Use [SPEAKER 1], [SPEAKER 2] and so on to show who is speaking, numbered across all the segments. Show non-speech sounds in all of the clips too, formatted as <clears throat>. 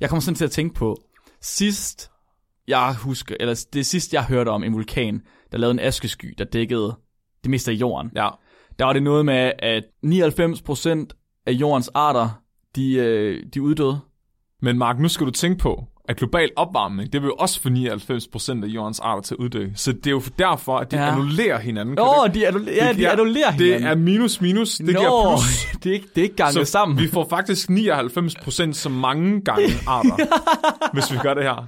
[SPEAKER 1] Jeg kommer sådan til at tænke på, sidst jeg husker, eller det sidste jeg hørte om en vulkan, der lavede en askesky, der dækkede det meste af jorden.
[SPEAKER 2] Ja.
[SPEAKER 1] Der var det noget med, at 99% af jordens arter, de, øh, de er uddøde.
[SPEAKER 2] Men Mark, nu skal du tænke på, at global opvarmning, det vil jo også få 99% af jordens arter til at uddø. Så det er jo derfor, at de
[SPEAKER 1] Ja.
[SPEAKER 2] ja. annullerer hinanden. kan
[SPEAKER 1] Åh,
[SPEAKER 2] det
[SPEAKER 1] oh, de, annul- ja, de
[SPEAKER 2] giver-
[SPEAKER 1] annullerer
[SPEAKER 2] ikke? det
[SPEAKER 1] hinanden.
[SPEAKER 2] er minus minus, det
[SPEAKER 1] Nå,
[SPEAKER 2] giver plus.
[SPEAKER 1] <laughs> det er ikke, det er ikke ganget så sammen.
[SPEAKER 2] vi får faktisk 99% så
[SPEAKER 1] <laughs>
[SPEAKER 2] mange gange arter, hvis vi gør det her.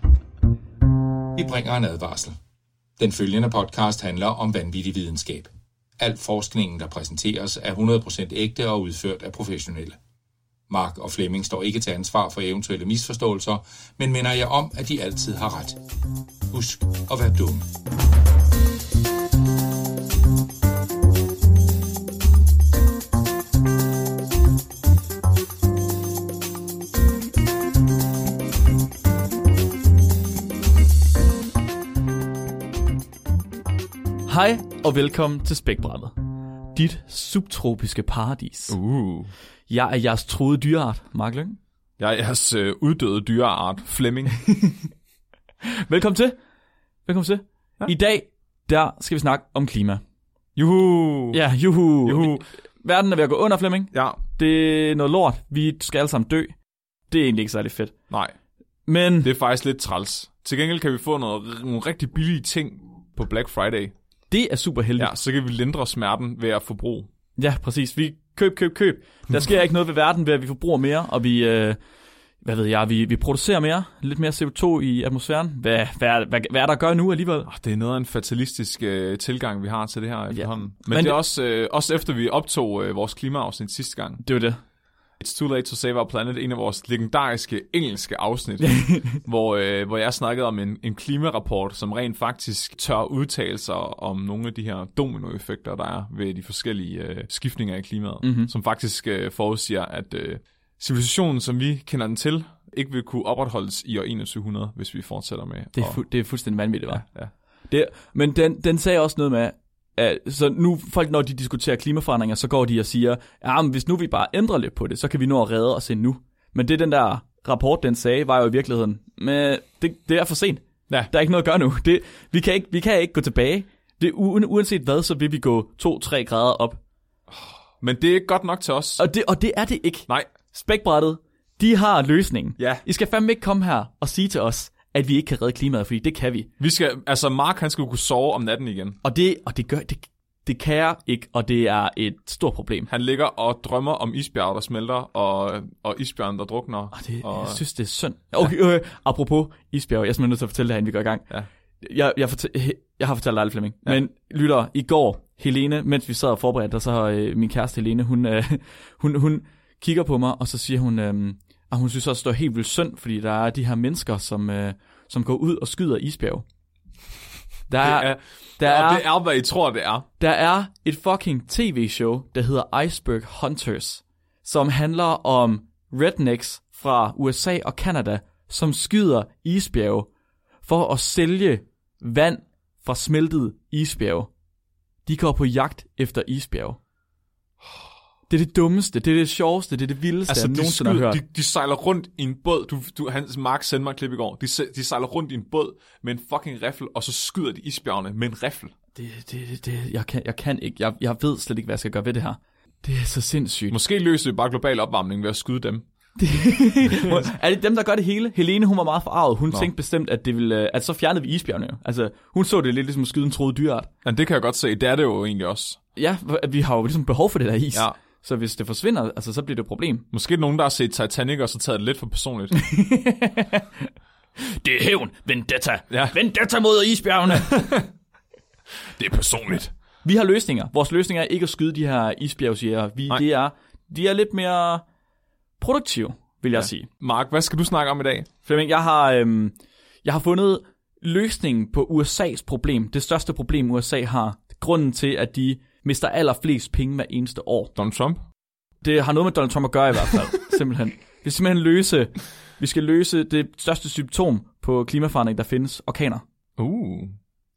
[SPEAKER 3] Vi bringer en advarsel. Den følgende podcast handler om vanvittig videnskab. Al forskningen, der præsenteres, er 100% ægte og udført af professionelle. Mark og Flemming står ikke til ansvar for eventuelle misforståelser, men minder jer om, at de altid har ret. Husk at være dumme.
[SPEAKER 1] Hej og velkommen til Spækbrættet. Dit subtropiske paradis. Uh.
[SPEAKER 2] Uh.
[SPEAKER 1] Jeg er jeres troede dyreart, Mark Lyng.
[SPEAKER 2] Jeg er jeres øh, uddøde dyreart, Flemming.
[SPEAKER 1] Velkommen til. Velkommen til. Ja. I dag, der skal vi snakke om klima.
[SPEAKER 2] Juhu!
[SPEAKER 1] <laughs> Ja, juhu.
[SPEAKER 2] Juhu.
[SPEAKER 1] Verden er ved at gå under, Flemming.
[SPEAKER 2] Ja,
[SPEAKER 1] Det er noget lort. Vi skal alle sammen dø. Det er egentlig ikke særlig fedt.
[SPEAKER 2] nej.
[SPEAKER 1] Men
[SPEAKER 2] Det er faktisk lidt træls. Til gengæld kan vi få noget, nogle rigtig billige ting på Black Friday.
[SPEAKER 1] det er super heldigt.
[SPEAKER 2] Ja, så kan vi lindre smerten ved at forbruge.
[SPEAKER 1] Ja, præcis. Vi køb, køb, køb. Der sker ikke noget ved verden ved, at vi forbruger mere, og vi, øh, hvad ved jeg, vi, vi producerer mere, lidt mere CO2 i atmosfæren. Hvad, hvad, hvad, hvad er der at gøre nu alligevel?
[SPEAKER 2] Ah, Det er noget af en fatalistisk øh, tilgang, vi har til det her efterhånden. Men,
[SPEAKER 1] Men
[SPEAKER 2] Men det er
[SPEAKER 1] det-
[SPEAKER 2] også, øh, også efter, vi optog øh, vores klimaafsnit sidste gang.
[SPEAKER 1] Det er jo det.
[SPEAKER 2] It's Too Late to Save Our Planet, en af vores legendariske
[SPEAKER 1] <laughs>
[SPEAKER 2] engelske afsnit, hvor, øh, hvor jeg snakkede om en, en klimarapport, som rent faktisk tør udtale sig om nogle af de her dominoeffekter, der er ved de forskellige øh, skiftninger i klimaet,
[SPEAKER 1] Mhm.
[SPEAKER 2] mm-hmm. som faktisk øh, forudsiger, at øh, civilisationen, som vi kender den til, ikke vil kunne opretholdes i år 2100, hvis vi fortsætter med
[SPEAKER 1] Det er,
[SPEAKER 2] at-
[SPEAKER 1] fu- det er fuldstændig vanvittigt, hva'?
[SPEAKER 2] ja.
[SPEAKER 1] Det, men den, den sagde også noget med, at, så nu folk, når de diskuterer klimaforandringer, så går de og siger, ja, men hvis nu vi bare ændrer lidt på det, så kan vi nå at redde os endnu. Men det den der rapport, den sagde, var jo i virkeligheden, men det, det er for sent.
[SPEAKER 2] Ja.
[SPEAKER 1] Der er ikke noget at gøre nu. Det, vi, kan ikke, vi kan ikke gå tilbage. Det, uen, uanset hvad, så vil vi gå 2-3 grader op.
[SPEAKER 2] Men det er ikke godt nok til os.
[SPEAKER 1] Og det, og det er det ikke.
[SPEAKER 2] Nej,
[SPEAKER 1] Spækbrættet, de har løsningen.
[SPEAKER 2] Ja.
[SPEAKER 1] I skal fandme ikke komme her og sige til os, at vi ikke kan redde klimaet, fordi det kan vi.
[SPEAKER 2] vi skal, altså Mark han skulle kunne sove om natten igen.
[SPEAKER 1] Og det, og det gør, det, det kan jeg ikke, og det er et stort problem.
[SPEAKER 2] Han ligger og drømmer om isbjerge, der smelter, og, og isbjørn, der drukner.
[SPEAKER 1] Og Ah, det,
[SPEAKER 2] og,
[SPEAKER 1] jeg synes, det er synd. Okay, ja. øh, apropos isbjerg, jeg er simpelthen nødt til at fortælle det her, inden vi går i gang.
[SPEAKER 2] Ja.
[SPEAKER 1] Jeg, jeg, fortæ- he- jeg har fortalt dig, det, Flemming. Ja. Men lytter, i går, Helene, mens vi sad og forberedte os, så har, øh, min kæreste Helene, hun, øh, <laughs> hun, hun kigger på mig, og så siger hun, øh, at hun synes også, det er helt vildt synd, fordi der er de her mennesker, som, øh, som går ud og skyder isbjerg. Der er,
[SPEAKER 2] det er,
[SPEAKER 1] der
[SPEAKER 2] Ja,
[SPEAKER 1] er,
[SPEAKER 2] det er, hvad I tror, det er.
[SPEAKER 1] Der er et fucking tv-show, der hedder Iceberg Hunters, som handler om rednecks fra USA og Kanada, som skyder isbjerge for at sælge vand fra smeltet isbjerge. De går på jagt efter isbjerge. Det er det dummeste, det er det sjoveste, det er det vildeste, altså, jeg
[SPEAKER 2] de,
[SPEAKER 1] nogensinde har hørt.
[SPEAKER 2] de, de sejler rundt i en båd. Du, du, hans Mark sendte mig et klip i går. De, se- de sejler rundt i en båd med en fucking rifle, og så skyder de isbjergene med en rifle.
[SPEAKER 1] Det, det, det, det, jeg, kan, jeg kan ikke, jeg, jeg ved slet ikke, hvad jeg skal gøre ved det her. Det er så sindssygt.
[SPEAKER 2] Måske løser vi bare global opvarmning ved at skyde dem.
[SPEAKER 1] <laughs> er det dem, der gør det hele? Helene, hun var meget forarvet. Hun Nå. tænkte bestemt, at, det ville, øh, at så fjernede vi isbjergene jo. Altså, hun så det lidt ligesom at skyde en troet dyreart.
[SPEAKER 2] Men det kan jeg godt se. Det er det jo egentlig også.
[SPEAKER 1] Ja, hvor- at vi har jo ligesom behov for det der is.
[SPEAKER 2] Ja.
[SPEAKER 1] Så hvis det forsvinder, altså, så bliver det et problem.
[SPEAKER 2] Måske er der nogen, der har set Titanic, og så taget det lidt
[SPEAKER 1] <laughs>
[SPEAKER 2] for personligt.
[SPEAKER 1] Det er hævn. Vendetta.
[SPEAKER 2] Ja.
[SPEAKER 1] Vendetta mod isbjergene.
[SPEAKER 2] det er personligt.
[SPEAKER 1] <laughs> vi har løsninger. Vores løsninger er ikke at skyde de her isbjergsjæger. Vi,
[SPEAKER 2] Nej.
[SPEAKER 1] det er, de er lidt mere produktive, vil jeg ja. sige.
[SPEAKER 2] Mark, hvad skal du snakke om i dag?
[SPEAKER 1] Flemming, jeg har, øhm, jeg har fundet løsningen på USA's problem. Det største problem, USA har. Grunden til, at de mister allerflest penge hver eneste år.
[SPEAKER 2] Donald Trump?
[SPEAKER 1] Det har noget med Donald Trump at gøre i hvert
[SPEAKER 2] <laughs>
[SPEAKER 1] fald, simpelthen. Vi skal simpelthen løse, vi skal løse det største symptom på klimaforandring, der findes. Orkaner.
[SPEAKER 2] Uh.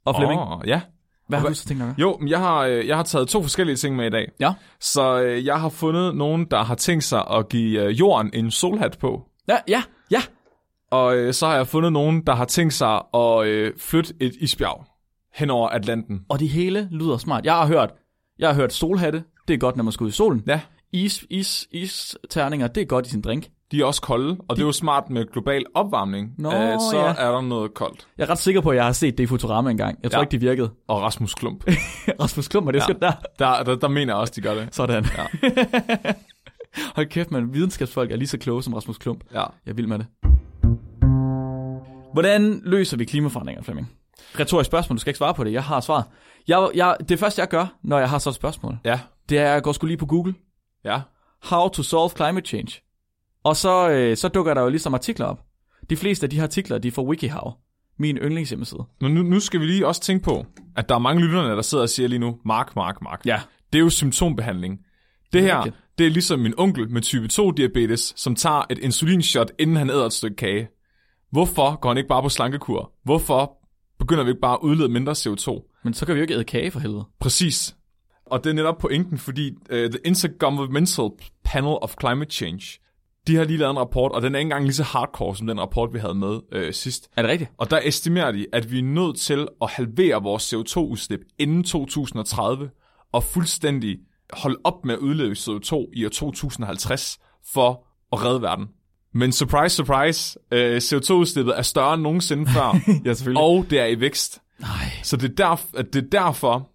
[SPEAKER 1] Og Flemming, oh,
[SPEAKER 2] Åh, ja.
[SPEAKER 1] hvad har
[SPEAKER 2] hvad-
[SPEAKER 1] du så tænkt dig at gøre?
[SPEAKER 2] Jo, men jeg har, øh, jeg har taget to forskellige ting med i dag.
[SPEAKER 1] Ja.
[SPEAKER 2] Så øh, jeg har fundet nogen, der har tænkt sig at give øh, jorden en solhat på.
[SPEAKER 1] Ja, ja, ja.
[SPEAKER 2] Og øh, så har jeg fundet nogen, der har tænkt sig at øh, flytte et isbjerg hen over Atlanten.
[SPEAKER 1] Og det hele lyder smart. Jeg har hørt, jeg har hørt solhatte, det er godt, når man skal ud i solen.
[SPEAKER 2] Ja,
[SPEAKER 1] Is, is, isterninger, det er godt i sin drink.
[SPEAKER 2] de er også kolde, og det er jo smart med global opvarmning.
[SPEAKER 1] Nå,
[SPEAKER 2] øh, så
[SPEAKER 1] ja.
[SPEAKER 2] er der noget koldt.
[SPEAKER 1] Jeg er ret sikker på, at jeg har set det i Futurama engang. Jeg tror
[SPEAKER 2] Ja.
[SPEAKER 1] ja. ikke, det virkede.
[SPEAKER 2] Og Rasmus Klump. <laughs>
[SPEAKER 1] Rasmus Klummer, det er ja. der.
[SPEAKER 2] Der, der, der mener jeg også, de gør det.
[SPEAKER 1] Sådan. Ja. <laughs> Hold kæft, man. Videnskabsfolk er lige så kloge som Rasmus Klump.
[SPEAKER 2] Ja.
[SPEAKER 1] Jeg vil med det. Hvordan løser vi klimaforandringer, Flemming? Retorisk spørgsmål, du skal ikke svare på det. Jeg har svaret. Jeg, jeg, det første, jeg gør, når jeg har så et spørgsmål,
[SPEAKER 2] Ja.
[SPEAKER 1] det er, at jeg går sgu lige på Google.
[SPEAKER 2] Ja.
[SPEAKER 1] How to solve climate change. Og så, øh, så dukker der jo ligesom artikler op. De fleste af de her artikler, de er fra WikiHow. Min yndlingshjemmeside.
[SPEAKER 2] Nu, nu, nu skal vi lige også tænke på, at der er mange lytterne, der sidder og siger lige nu, Mark, Mark, Mark.
[SPEAKER 1] Ja.
[SPEAKER 2] Det er jo symptombehandling. Det
[SPEAKER 1] er
[SPEAKER 2] her,
[SPEAKER 1] rigtigt.
[SPEAKER 2] det er ligesom min onkel med type 2-diabetes, som tager et insulinshot, inden han æder et stykke kage. Hvorfor går han ikke bare på slankekur? Hvorfor begynder vi ikke bare at udlede mindre CO2?
[SPEAKER 1] Men så kan vi jo ikke æde kage for helvede.
[SPEAKER 2] Præcis. Og det er netop pointen, fordi uh, The Intergovernmental Panel of Climate Change, de har lige lavet en rapport, og den er ikke engang lige så hardcore som den rapport, vi havde med uh, sidst.
[SPEAKER 1] Er det rigtigt?
[SPEAKER 2] Og der estimerer de, at vi er nødt til at halvere vores CO2-udslip inden 2030, og fuldstændig holde op med at udlede CO2 i år 2050 for at redde verden. Men surprise, surprise, øh, CO2-udslippet er større end nogensinde før,
[SPEAKER 1] <laughs> Ja, selvfølgelig. Og
[SPEAKER 2] og det er i vækst.
[SPEAKER 1] Nej.
[SPEAKER 2] Så det er, derf- at det er derfor,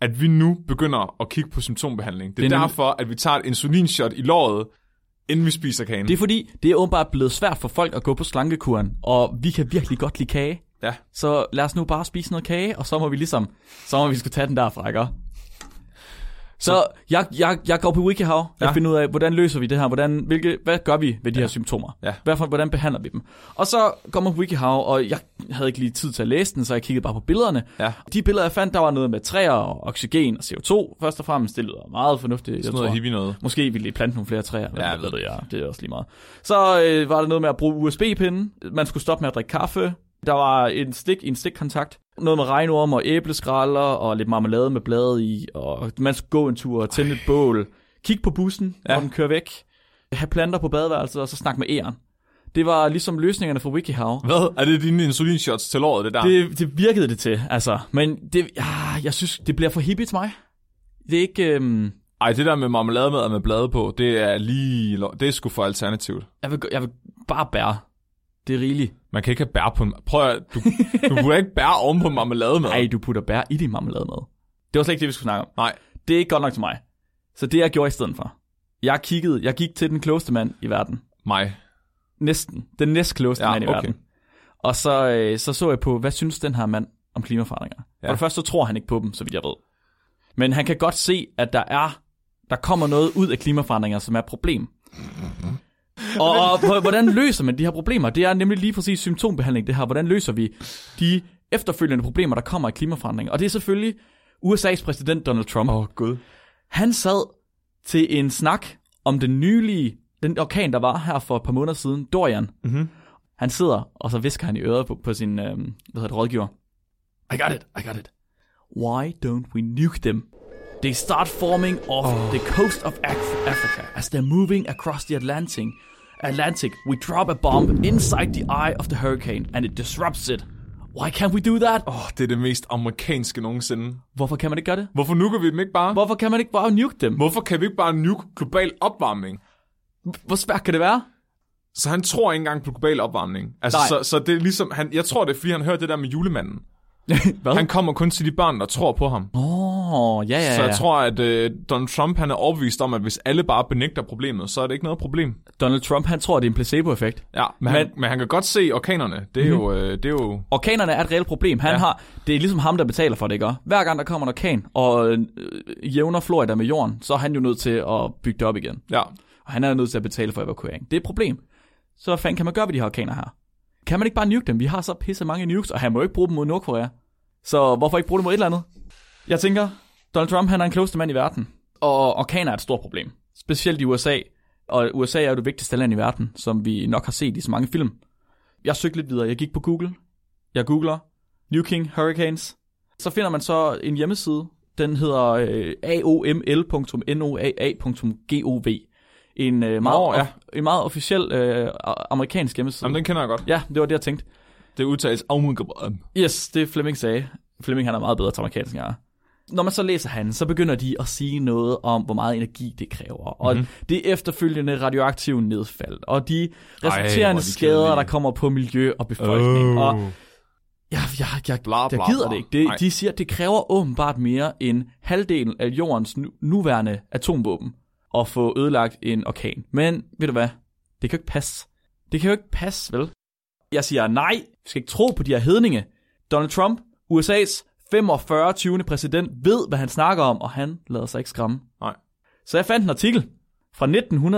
[SPEAKER 2] at vi nu begynder at kigge på symptombehandling. Det er,
[SPEAKER 1] Det er nemlig-
[SPEAKER 2] derfor, at vi tager et insulinshot i låret, inden vi spiser kagen.
[SPEAKER 1] det er fordi, det er åbenbart blevet svært for folk at gå på slankekuren, og vi kan virkelig godt lide kage.
[SPEAKER 2] Ja.
[SPEAKER 1] Så lad os nu bare spise noget kage, og så må vi ligesom, så må vi skulle tage den derfra, ikke? Så jeg, jeg, jeg går på WikiHow, jeg
[SPEAKER 2] Ja.
[SPEAKER 1] ja. finder ud af, hvordan løser vi det her, hvordan, hvilke, hvad gør vi ved de ja. her symptomer?
[SPEAKER 2] Ja.
[SPEAKER 1] Hvad for, hvordan behandler vi dem? Og så kommer WikiHow, og jeg havde ikke lige tid til at læse den, så jeg kiggede bare på billederne.
[SPEAKER 2] Ja.
[SPEAKER 1] De billeder, jeg fandt, der var noget med træer og oxygen og CO2, først og fremmest, det lyder meget fornuftigt. jeg
[SPEAKER 2] Sådan noget
[SPEAKER 1] tror.
[SPEAKER 2] hippie noget.
[SPEAKER 1] Måske ville de plante nogle flere træer.
[SPEAKER 2] Ja,
[SPEAKER 1] Ja,
[SPEAKER 2] jeg
[SPEAKER 1] jeg
[SPEAKER 2] ved
[SPEAKER 1] ved det, ja. Det er også lige meget. Så øh, var der noget med at bruge USB-pinden. Man skulle stoppe med at drikke kaffe. Der var en stik en stikkontakt. Noget med regnorm og æbleskralder og lidt marmelade med blade i. Og man skulle gå en tur og tænde et bål. Kig på bussen,
[SPEAKER 2] Ja.
[SPEAKER 1] ja. når den kører væk. Have planter på badeværelset og så snakke med æren. Det var ligesom løsningerne fra WikiHow.
[SPEAKER 2] Hvad? Er det dine insulinshots til låret, det der?
[SPEAKER 1] Det, det virkede det til, altså. Men det, ah, jeg synes, det bliver for hippie til mig. Det er ikke... Øhm,
[SPEAKER 2] Ej, det der med marmelademad med blade på, det er lige... lo- Det er sgu for alternativt.
[SPEAKER 1] jeg, vil, jeg vil bare bære. Det er rigeligt.
[SPEAKER 2] Man kan ikke have bær på... en- Prøv at... Du, du
[SPEAKER 1] <laughs>
[SPEAKER 2] burde ikke bære oven på marmelademad.
[SPEAKER 1] Ej, du putter bær i din marmelade med. Det var slet ikke det, vi skulle snakke om.
[SPEAKER 2] Nej.
[SPEAKER 1] Det er ikke godt nok til mig. Så det, jeg gjorde i stedet for. Jeg kiggede, jeg gik til den klogeste mand i verden.
[SPEAKER 2] Mig.
[SPEAKER 1] Næsten. Den næstklogeste
[SPEAKER 2] Ja,
[SPEAKER 1] ja, mand i
[SPEAKER 2] okay.
[SPEAKER 1] okay. verden. Og så, øh, så så jeg på, hvad synes den her mand om klimaforandringer? Ja.
[SPEAKER 2] Ja.
[SPEAKER 1] For det første, så tror han ikke på dem, så vidt jeg ved. Men han kan godt se, at der er, der kommer noget ud af klimaforandringer, som er et <laughs> problem. Og, og h- hvordan løser man de her problemer? Det er nemlig lige præcis symptombehandling, det her. Hvordan løser vi de efterfølgende problemer, der kommer af klimaforandringer? Og det er selvfølgelig USA's præsident Donald Trump. Åh, oh, Gud. Han sad til en snak om den nylige, den orkan, der var her for et par måneder siden, Dorian.
[SPEAKER 2] Mhm.
[SPEAKER 1] Han sidder, og så visker han i øret på, på sin øhm, hvad hedder det, rådgiver. I got it, I got it. Why don't we nuke them? They start forming off the coast of Af- Africa as they're moving across the Atlantic. Atlantic, we drop a bomb inside the eye of the hurricane, and it disrupts it. Why can't we do that?
[SPEAKER 2] Åh, oh, det er det mest amerikanske nogensinde.
[SPEAKER 1] Hvorfor kan man ikke gøre det?
[SPEAKER 2] Hvorfor nuker vi dem ikke bare?
[SPEAKER 1] Hvorfor kan man ikke bare nuke dem?
[SPEAKER 2] Hvorfor kan vi ikke bare nuke global opvarmning?
[SPEAKER 1] Hvor svært kan det være?
[SPEAKER 2] Så han tror ikke engang på global opvarmning. Altså,
[SPEAKER 1] Nej.
[SPEAKER 2] så, så det er ligesom... Han, jeg tror, det er, fordi han hørte det der med julemanden.
[SPEAKER 1] <laughs> Hvad?
[SPEAKER 2] Han kommer kun til de børn, der tror på ham.
[SPEAKER 1] Åh, oh, ja, ja, ja.
[SPEAKER 2] Så jeg tror, at øh, Donald Trump han er overbevist om, at hvis alle bare benægter problemet, så er det ikke noget problem.
[SPEAKER 1] Donald Trump, han tror, det er en placeboeffekt.
[SPEAKER 2] Ja, men, men, han, men han kan godt se orkanerne. Det er mm-hmm.
[SPEAKER 1] Mhm.
[SPEAKER 2] jo... Øh, det er jo
[SPEAKER 1] Orkanerne er et reelt problem. Han
[SPEAKER 2] Ja.
[SPEAKER 1] ja. har, det er ligesom ham, der betaler for det, ikke? Hver gang der kommer en orkan og øh, jævner Florida med jorden, så er han jo nødt til at bygge det op igen.
[SPEAKER 2] ja.
[SPEAKER 1] Og han er nødt til at betale for evakuering. Det er et problem. Så hvad fanden kan man gøre ved de her orkaner her? Kan man ikke bare nuke dem? Vi har så pisse mange nukes, og han må jo ikke bruge dem mod Nordkorea. Så hvorfor ikke bruge dem mod et eller andet? Jeg tænker, Donald Trump han er den klogeste mand i verden. Og orkaner er et stort problem. Specielt i USA. Og USA er jo det vigtigste land i verden, som vi nok har set i så mange film. Jeg søgte lidt videre. Jeg gik på Google. Jeg googler Nuking Hurricanes. Så finder man så en hjemmeside. Den hedder øh, aoml.noaa.gov. en, øh, meget,
[SPEAKER 2] Nå, ja.
[SPEAKER 1] of, en meget officiel øh, a- amerikansk hjemmeside.
[SPEAKER 2] Jamen, den kender jeg godt.
[SPEAKER 1] Ja, det var det, jeg tænkte.
[SPEAKER 2] Det udtales Amungabrøm.
[SPEAKER 1] Yes, det Fleming sagde. Fleming han er meget bedre til amerikansk, end jeg er. Når man så læser han, så begynder de at sige noget om, hvor meget energi det kræver, og
[SPEAKER 2] Mhm.
[SPEAKER 1] mm-hmm. det efterfølgende radioaktive nedfald, og de
[SPEAKER 2] hvor er
[SPEAKER 1] resulterende
[SPEAKER 2] de
[SPEAKER 1] skader, der
[SPEAKER 2] kedelige.
[SPEAKER 1] kommer på miljø og befolkning. Oh. Og jeg, jeg, jeg,
[SPEAKER 2] Bla,
[SPEAKER 1] jeg
[SPEAKER 2] bla,
[SPEAKER 1] gider
[SPEAKER 2] bla.
[SPEAKER 1] det ikke. Det,
[SPEAKER 2] Nej.
[SPEAKER 1] de siger, at det kræver åbenbart mere end halvdelen af jordens nu, nuværende atomvåben at få ødelagt en orkan. Men ved du hvad? Det kan jo ikke passe. Det kan jo ikke passe, vel? Jeg siger nej. Vi skal ikke tro på de her hedninge. Donald Trump, USA's 45. 20. præsident, ved, hvad han snakker om, og han lader sig ikke skræmme.
[SPEAKER 2] Nej.
[SPEAKER 1] Så jeg fandt en artikel fra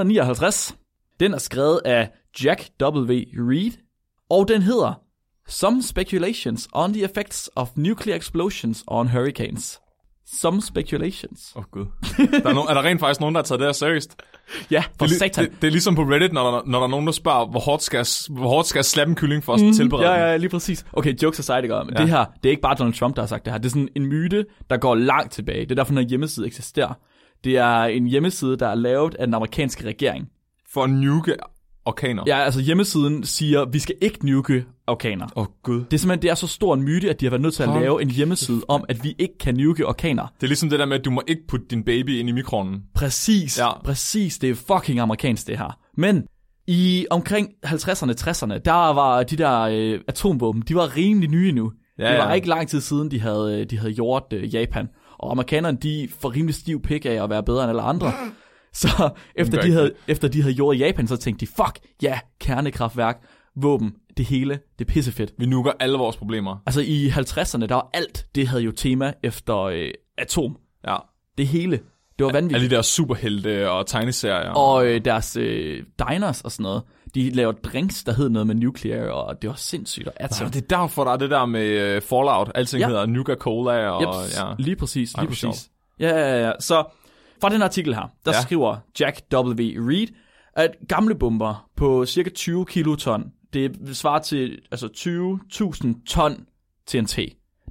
[SPEAKER 1] 1959. Den er skrevet af Jack W. Reed, og den hedder Some Speculations on the Effects of Nuclear Explosions on Hurricanes. Some speculations.
[SPEAKER 2] Åh, oh,
[SPEAKER 1] <laughs>
[SPEAKER 2] gud. Der er, no, er der rent faktisk nogen, der har taget det her seriøst?
[SPEAKER 1] Ja, for
[SPEAKER 2] Det, er li-
[SPEAKER 1] satan.
[SPEAKER 2] det, det er ligesom på Reddit, når der, når der er nogen, der spørger, hvor hårdt skal jeg, s- hvor hårdt skal jeg slappe en kylling for at tilberede
[SPEAKER 1] Mhm. Ja,
[SPEAKER 2] den?
[SPEAKER 1] ja, ja, lige præcis. Okay, jokes aside, ikke? Men ja.
[SPEAKER 2] Ja.
[SPEAKER 1] det her, det er ikke bare Donald Trump, der har sagt det her. Det er sådan en myte, der går langt tilbage. Det er derfor, den her hjemmeside eksisterer. Det er en hjemmeside, der er lavet af den amerikanske regering.
[SPEAKER 2] For at nuke orkaner.
[SPEAKER 1] Ja, altså hjemmesiden siger, vi skal ikke nuke orkaner.
[SPEAKER 2] Åh, oh, gud.
[SPEAKER 1] Det er simpelthen det er så stor en myte, at de har været nødt til at
[SPEAKER 2] Hold
[SPEAKER 1] lave en hjemmeside om, at vi ikke kan nuke orkaner.
[SPEAKER 2] Det er ligesom det der med, at du må ikke putte din baby ind i mikroovnen.
[SPEAKER 1] Præcis, ja.
[SPEAKER 2] Ja.
[SPEAKER 1] præcis. Det er fucking amerikansk, det her. Men i omkring 50'erne, 60'erne, der var de der øh, atomvåben, de var rimelig nye nu. Ja,
[SPEAKER 2] Ja,
[SPEAKER 1] det var
[SPEAKER 2] ja.
[SPEAKER 1] ikke lang tid siden, de havde, øh, de havde gjort øh, Japan. Og amerikanerne, de får rimelig stiv pik af at være bedre end alle
[SPEAKER 2] <clears throat>
[SPEAKER 1] andre. Så efter de,
[SPEAKER 2] rigtigt.
[SPEAKER 1] havde, efter de havde gjort Japan, så tænkte de, fuck, ja, kernekraftværk, våben, det hele, det er pissefedt.
[SPEAKER 2] Vi nuker alle vores problemer.
[SPEAKER 1] Altså i 50'erne, der var alt, det havde jo tema efter øh, atom.
[SPEAKER 2] Ja.
[SPEAKER 1] Det hele. Det var vanvittigt.
[SPEAKER 2] Alle de der superhelte og tegneserier.
[SPEAKER 1] Og øh, deres øh, diners og sådan noget, de lavede drinks, der hed noget med nuclear, og det var sindssygt. Og
[SPEAKER 2] Så
[SPEAKER 1] atom.
[SPEAKER 2] det er derfor, der er det der med øh, Fallout. Alting
[SPEAKER 1] Ja.
[SPEAKER 2] ja. hedder Nuka Cola. Og,
[SPEAKER 1] Jeps,
[SPEAKER 2] ja.
[SPEAKER 1] lige præcis,
[SPEAKER 2] Ej,
[SPEAKER 1] lige
[SPEAKER 2] hvor sjovt.
[SPEAKER 1] præcis. Ja, ja, ja, ja. Så fra den artikel her, der ja.
[SPEAKER 2] Ja.
[SPEAKER 1] skriver Jack W. Reed, at gamle bomber på cirka 20 kiloton, det svarer til altså 20.000 ton TNT. Det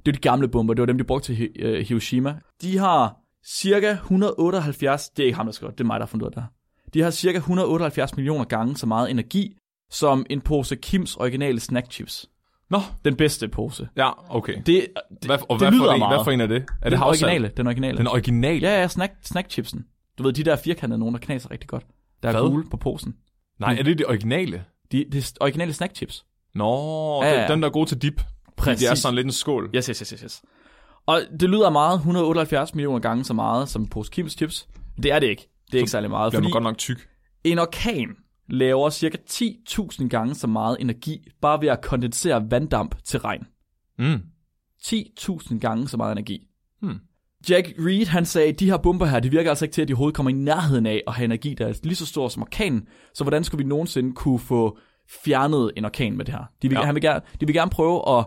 [SPEAKER 1] er de gamle bomber, det var dem, de brugte til Hi- øh, Hiroshima. De har cirka 178, det er ikke ham, der skriver, det er mig, der har fundet ud af det her. De har cirka 178 millioner gange så meget energi, som en pose Kims originale snackchips.
[SPEAKER 2] Nå,
[SPEAKER 1] Den bedste pose.
[SPEAKER 2] ja, okay. Det,
[SPEAKER 1] Det, det,
[SPEAKER 2] hvad, og
[SPEAKER 1] det
[SPEAKER 2] hvad,
[SPEAKER 1] lyder
[SPEAKER 2] for en,
[SPEAKER 1] meget.
[SPEAKER 2] hvad for en er det? Er det
[SPEAKER 1] den
[SPEAKER 2] havsalt?
[SPEAKER 1] originale, den originale.
[SPEAKER 2] Den originale?
[SPEAKER 1] Ja, ja, snack, snackchipsen. Du ved, de der firkantede nogen, der knaser rigtig godt. Der er
[SPEAKER 2] Hvad?
[SPEAKER 1] gule på posen.
[SPEAKER 2] Nej, er det det originale?
[SPEAKER 1] De, det er originale snackchips.
[SPEAKER 2] Nå,
[SPEAKER 1] Ja,
[SPEAKER 2] ja,
[SPEAKER 1] ja.
[SPEAKER 2] Den, der er god til dip. Præcis. Det er sådan lidt en skål.
[SPEAKER 1] Yes, yes, yes, yes, yes. Og det lyder meget, 178 millioner gange så meget som en pose Kims chips. Det er det ikke. Det er ikke særlig meget,
[SPEAKER 2] Bliver
[SPEAKER 1] fordi
[SPEAKER 2] man godt nok tyk.
[SPEAKER 1] en orkan laver cirka 10.000 gange så meget energi, bare ved at kondensere vanddamp til regn.
[SPEAKER 2] Mm.
[SPEAKER 1] 10.000 gange så meget energi.
[SPEAKER 2] Hmm.
[SPEAKER 1] Jack Reed, han sagde, de her bomber her, det virker altså ikke til, at de overhovedet kommer i nærheden af at have energi, der er lige så stor som orkanen. Så hvordan skulle vi nogensinde kunne få fjernet en orkan med det her? De vil, ja.
[SPEAKER 2] Ja.
[SPEAKER 1] han vil gerne, de vil gerne prøve at,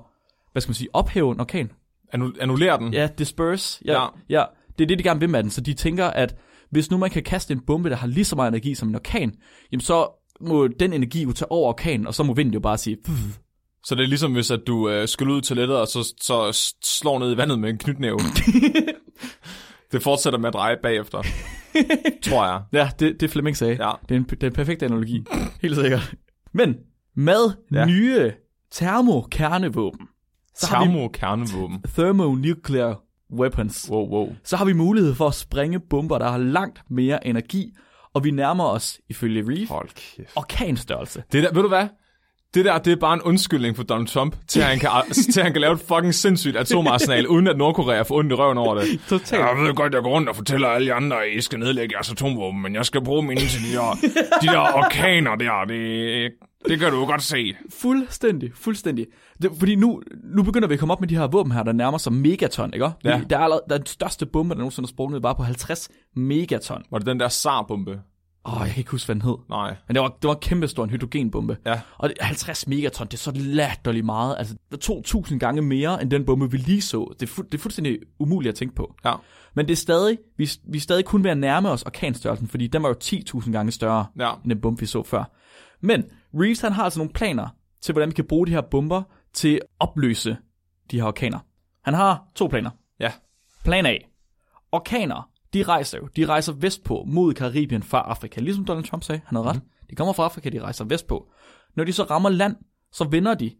[SPEAKER 1] hvad skal man sige, ophæve en orkan.
[SPEAKER 2] Annu- annullere den.
[SPEAKER 1] Ja, disperse. Ja, ja.
[SPEAKER 2] Ja.
[SPEAKER 1] ja. Det er det, de gerne vil med den. Så de tænker, at hvis nu man kan kaste en bombe, der har lige så meget energi som en orkan, jamen så må den energi jo tage over orkanen, og så må vinden jo bare sige, "Pff,
[SPEAKER 2] Så det er ligesom, hvis at du øh, skyller ud til lettet, og så, så s- slår ned i vandet med en
[SPEAKER 1] <laughs>
[SPEAKER 2] knytnæve. det fortsætter med at dreje bagefter. tror jeg.
[SPEAKER 1] Ja, det, det Flemming sagde.
[SPEAKER 2] Ja.
[SPEAKER 1] Det, er en, det er en perfekt
[SPEAKER 2] <laughs>
[SPEAKER 1] analogi. Helt sikkert. Men med ja.
[SPEAKER 2] Ja.
[SPEAKER 1] nye termokernevåben, så har vi
[SPEAKER 2] Termokernevåben.
[SPEAKER 1] thermonuclear weapons,
[SPEAKER 2] Wow, wow.
[SPEAKER 1] så har vi mulighed for at sprænge bomber, der har langt mere energi, og vi nærmer os, ifølge Reef,
[SPEAKER 2] Hold kæft.
[SPEAKER 1] orkanstørrelse.
[SPEAKER 2] Det der, ved du hvad? Det der, det er bare en undskyldning for Donald Trump, til at han kan, til at han kan lave et fucking sindssygt atomarsenal, uden at Nordkorea får ondt i røven over det.
[SPEAKER 1] Totalt.
[SPEAKER 2] Jeg ved godt, jeg går rundt og fortæller alle jer andre, at I skal nedlægge jeres atomvåben, men jeg skal bruge mine til de der, de der orkaner der. Det, det kan du jo godt se.
[SPEAKER 1] Fuldstændig, fuldstændig. Det, fordi nu, nu begynder vi at komme op med de her våben her, der nærmer sig megaton, ikke? Vi-
[SPEAKER 2] Ja.
[SPEAKER 1] Der, er allerede, der er den største bombe, der nogensinde er sprunget, ned, var på 50 megaton.
[SPEAKER 2] Var det den der SAR-bombe?
[SPEAKER 1] Åh, jeg kan ikke huske, hvad den hed.
[SPEAKER 2] Nej.
[SPEAKER 1] Men det var, det var kæmpestor en hydrogenbombe.
[SPEAKER 2] Ja.
[SPEAKER 1] Og det- 50 megaton, det er så latterligt meget. Altså, det er 2.000 gange mere, end den bombe, vi lige så. Det er, fu- det er fuldstændig umuligt at tænke på.
[SPEAKER 2] Ja.
[SPEAKER 1] Men det er stadig, vi, vi er stadig kun ved at nærme os orkanstørrelsen, fordi den var jo 10.000 gange større,
[SPEAKER 2] Ja.
[SPEAKER 1] end den bombe, vi så før. Men Reeves, han har altså nogle planer til, hvordan vi kan bruge de her bomber til at opløse de her orkaner. Han har to planer.
[SPEAKER 2] Ja.
[SPEAKER 1] Plan A. Orkaner, de rejser jo. De rejser vestpå mod Karibien fra Afrika. Ligesom Donald Trump sagde, han havde ret. De kommer fra Afrika, de rejser vestpå. Når de så rammer land, så vender de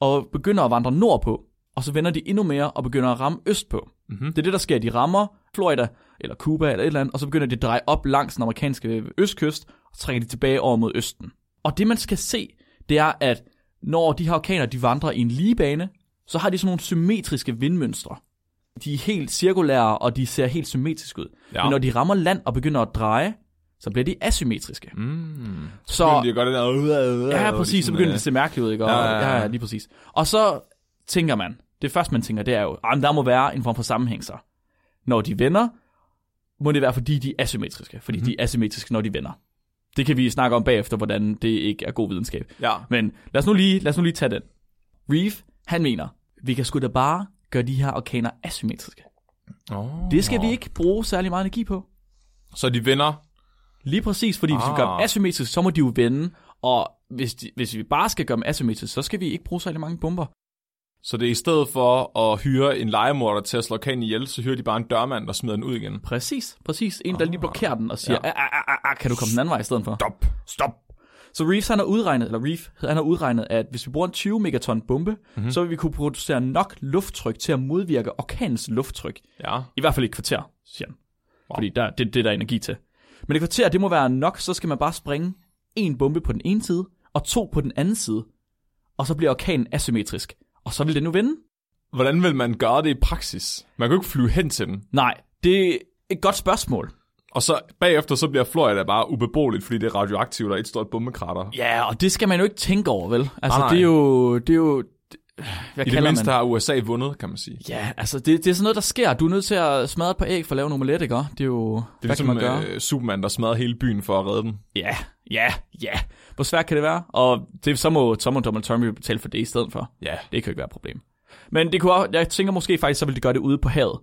[SPEAKER 1] og begynder at vandre nordpå. Og så vender de endnu mere og begynder at ramme østpå. Mm-hmm. Det er det, der sker. De rammer Florida eller Cuba eller et eller andet, og så begynder de at dreje op langs den amerikanske østkyst, og så trækker de tilbage over mod østen. Og det, man skal se, det er, at når de her orkaner de vandrer i en lige bane, så har de sådan nogle symmetriske vindmønstre. De er helt cirkulære, og de ser helt symmetriske ud.
[SPEAKER 2] Ja.
[SPEAKER 1] Ja. Men når de rammer land og begynder at dreje, så bliver de asymmetriske. Mm.
[SPEAKER 2] Så
[SPEAKER 1] Så,
[SPEAKER 2] de jo godt det der...
[SPEAKER 1] ja, præcis, så begynder det at se mærkeligt ud, ikke? Og,
[SPEAKER 2] Øh, ligesom, Ja,
[SPEAKER 1] ja,
[SPEAKER 2] ja, ja.
[SPEAKER 1] ja, ja, lige præcis. Og så tænker man, det første man tænker, det er jo, at der må være en form for sammenhæng så. Når de vender, må det være, fordi de er asymmetriske. Fordi mm.
[SPEAKER 2] Mhm.
[SPEAKER 1] de er asymmetriske, når de vender. Det kan vi snakke om bagefter, hvordan det ikke er god videnskab.
[SPEAKER 2] Ja.
[SPEAKER 1] Men lad os nu lige, lad os nu lige tage den. Reef, han mener, vi kan sgu da bare gøre de her orkaner asymmetriske.
[SPEAKER 2] Oh.
[SPEAKER 1] Det skal vi ikke bruge særlig meget energi på.
[SPEAKER 2] Så de vender...
[SPEAKER 1] Lige præcis, fordi hvis vi gør dem
[SPEAKER 2] Ah.
[SPEAKER 1] asymmetrisk, så må de jo vende, og hvis, de, hvis vi bare skal gøre dem asymmetrisk, så skal vi ikke bruge særlig mange bomber.
[SPEAKER 2] Så det er i stedet for at hyre en legemorder til at slå orkanen ihjel, så hyrer de bare en dørmand, der smider den ud igen.
[SPEAKER 1] Præcis, præcis. En, der lige blokerer den og siger, ja. ah, ah, ah, ah, kan du komme den anden vej i stedet for?
[SPEAKER 2] Stop. Stop.
[SPEAKER 1] Så Reeves han har udregnet, eller Reef, han har udregnet, at hvis vi bruger en 20 megaton bombe, mm-hmm. så vil vi kunne producere nok lufttryk til at modvirke orkanens lufttryk.
[SPEAKER 2] Ja.
[SPEAKER 1] I hvert fald i et kvarter, siger han. Wow. Fordi der, det, det er der energi til. Men et kvarter, det må være nok, så skal man bare springe en bombe på den ene side, og to på den anden side. Og så bliver orkanen asymmetrisk. Og så vil den nu vinde.
[SPEAKER 2] Hvordan vil man gøre det i praksis? Man kan jo ikke flyve hen til den.
[SPEAKER 1] Nej, det er et godt spørgsmål.
[SPEAKER 2] Og så bagefter, så bliver Florida bare ubeboeligt, fordi det er radioaktivt og et stort bombekrater.
[SPEAKER 1] Ja, og det skal man jo ikke tænke over, vel? Altså,
[SPEAKER 2] Nej.
[SPEAKER 1] det er jo... Det er jo hvad
[SPEAKER 2] I det
[SPEAKER 1] kalder
[SPEAKER 2] mindste
[SPEAKER 1] man?
[SPEAKER 2] har USA vundet, kan man sige. Det
[SPEAKER 1] Ja, altså, det, det er sådan noget, der sker. Du er nødt til at smadre et par æg for at lave en omelet, ikke? Det er jo... Det er
[SPEAKER 2] er
[SPEAKER 1] hvad kan man gøre?
[SPEAKER 2] ligesom øh, Superman, der smadrer hele byen for at redde den.
[SPEAKER 1] Ja, ja, ja. Hvor svært kan det være? Og det, så må Tom og Donald Trump jo betale for det i stedet for.
[SPEAKER 2] Ja.
[SPEAKER 1] Det kan jo ikke være et problem. Men det kunne også, jeg tænker måske faktisk, så vil de gøre det ude på havet,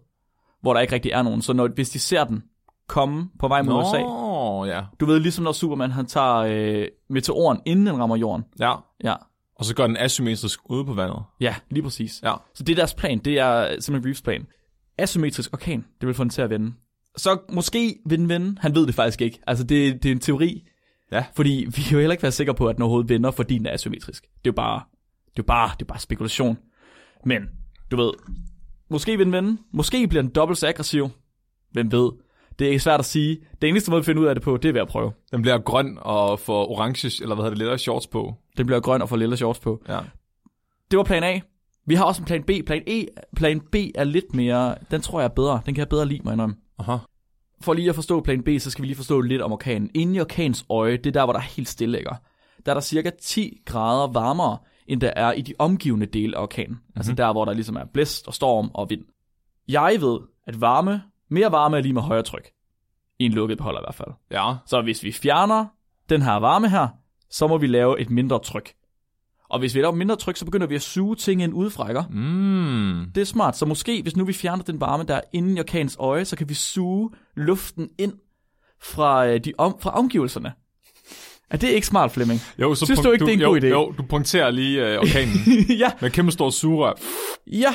[SPEAKER 1] hvor der ikke rigtig er nogen. Så når, hvis de ser den komme på vej mod Nå. USA,
[SPEAKER 2] Nå, ja.
[SPEAKER 1] du ved ligesom når Superman han tager øh, meteoren, inden den rammer jorden.
[SPEAKER 2] Ja.
[SPEAKER 1] Ja,
[SPEAKER 2] Og så går den asymmetrisk ude på vandet.
[SPEAKER 1] ja lige præcis.
[SPEAKER 2] Ja.
[SPEAKER 1] Så det er deres plan, det er simpelthen Reeves plan. Asymmetrisk orkan, det vil få den til at vende. Så måske vil den vende, han ved det faktisk ikke. Altså det, det er en teori,
[SPEAKER 2] Ja.
[SPEAKER 1] fordi vi kan jo heller ikke være sikre på, at den overhovedet vender, fordi den er asymmetrisk. Det er jo bare, det er jo bare, det er bare spekulation. Men, du ved, måske vil den vende, måske bliver den dobbelt så aggressiv. Hvem ved? Det er svært at sige. Det eneste måde at finde ud af det på, det er ved at prøve.
[SPEAKER 2] Den bliver grøn og får orange, eller hvad hedder det, lettere shorts på.
[SPEAKER 1] Den bliver grøn og får lille shorts på.
[SPEAKER 2] Ja.
[SPEAKER 1] Det var plan A. Vi har også en plan B. Plan, e, plan B er lidt mere, den tror jeg er bedre. Den kan jeg bedre lide, mig indrømme.
[SPEAKER 2] Aha.
[SPEAKER 1] For lige at forstå plan B, så skal vi lige forstå lidt om orkanen. Inden i orkanens øje, det er der, hvor der er helt stille, ikke? Der er der cirka 10 grader varmere, end der er i de omgivende dele af orkanen. Mm-hmm. Altså der, hvor der ligesom er blæst og storm og vind. Jeg ved, at varme, mere varme er lige med højere tryk. I en lukket beholder i hvert fald.
[SPEAKER 2] Ja.
[SPEAKER 1] Så hvis vi fjerner den her varme her, så må vi lave et mindre tryk. Og hvis vi laver et mindre tryk, så begynder vi at suge ting ind udefra, ikke?
[SPEAKER 2] Mm.
[SPEAKER 1] Det er smart. Så måske, hvis nu vi fjerner den varme, der er inde i orkanens øje, så kan vi suge luften ind fra, øh, de om, fra omgivelserne. Er det ikke smart, Flemming?
[SPEAKER 2] Jo, så
[SPEAKER 1] Synes
[SPEAKER 2] punkt-
[SPEAKER 1] du ikke, det er en
[SPEAKER 2] jo,
[SPEAKER 1] god idé?
[SPEAKER 2] Jo, du punkterer lige øh,
[SPEAKER 1] <laughs>
[SPEAKER 2] orkanen
[SPEAKER 1] ja,
[SPEAKER 2] med kæmpe stor sugerør.
[SPEAKER 1] ja.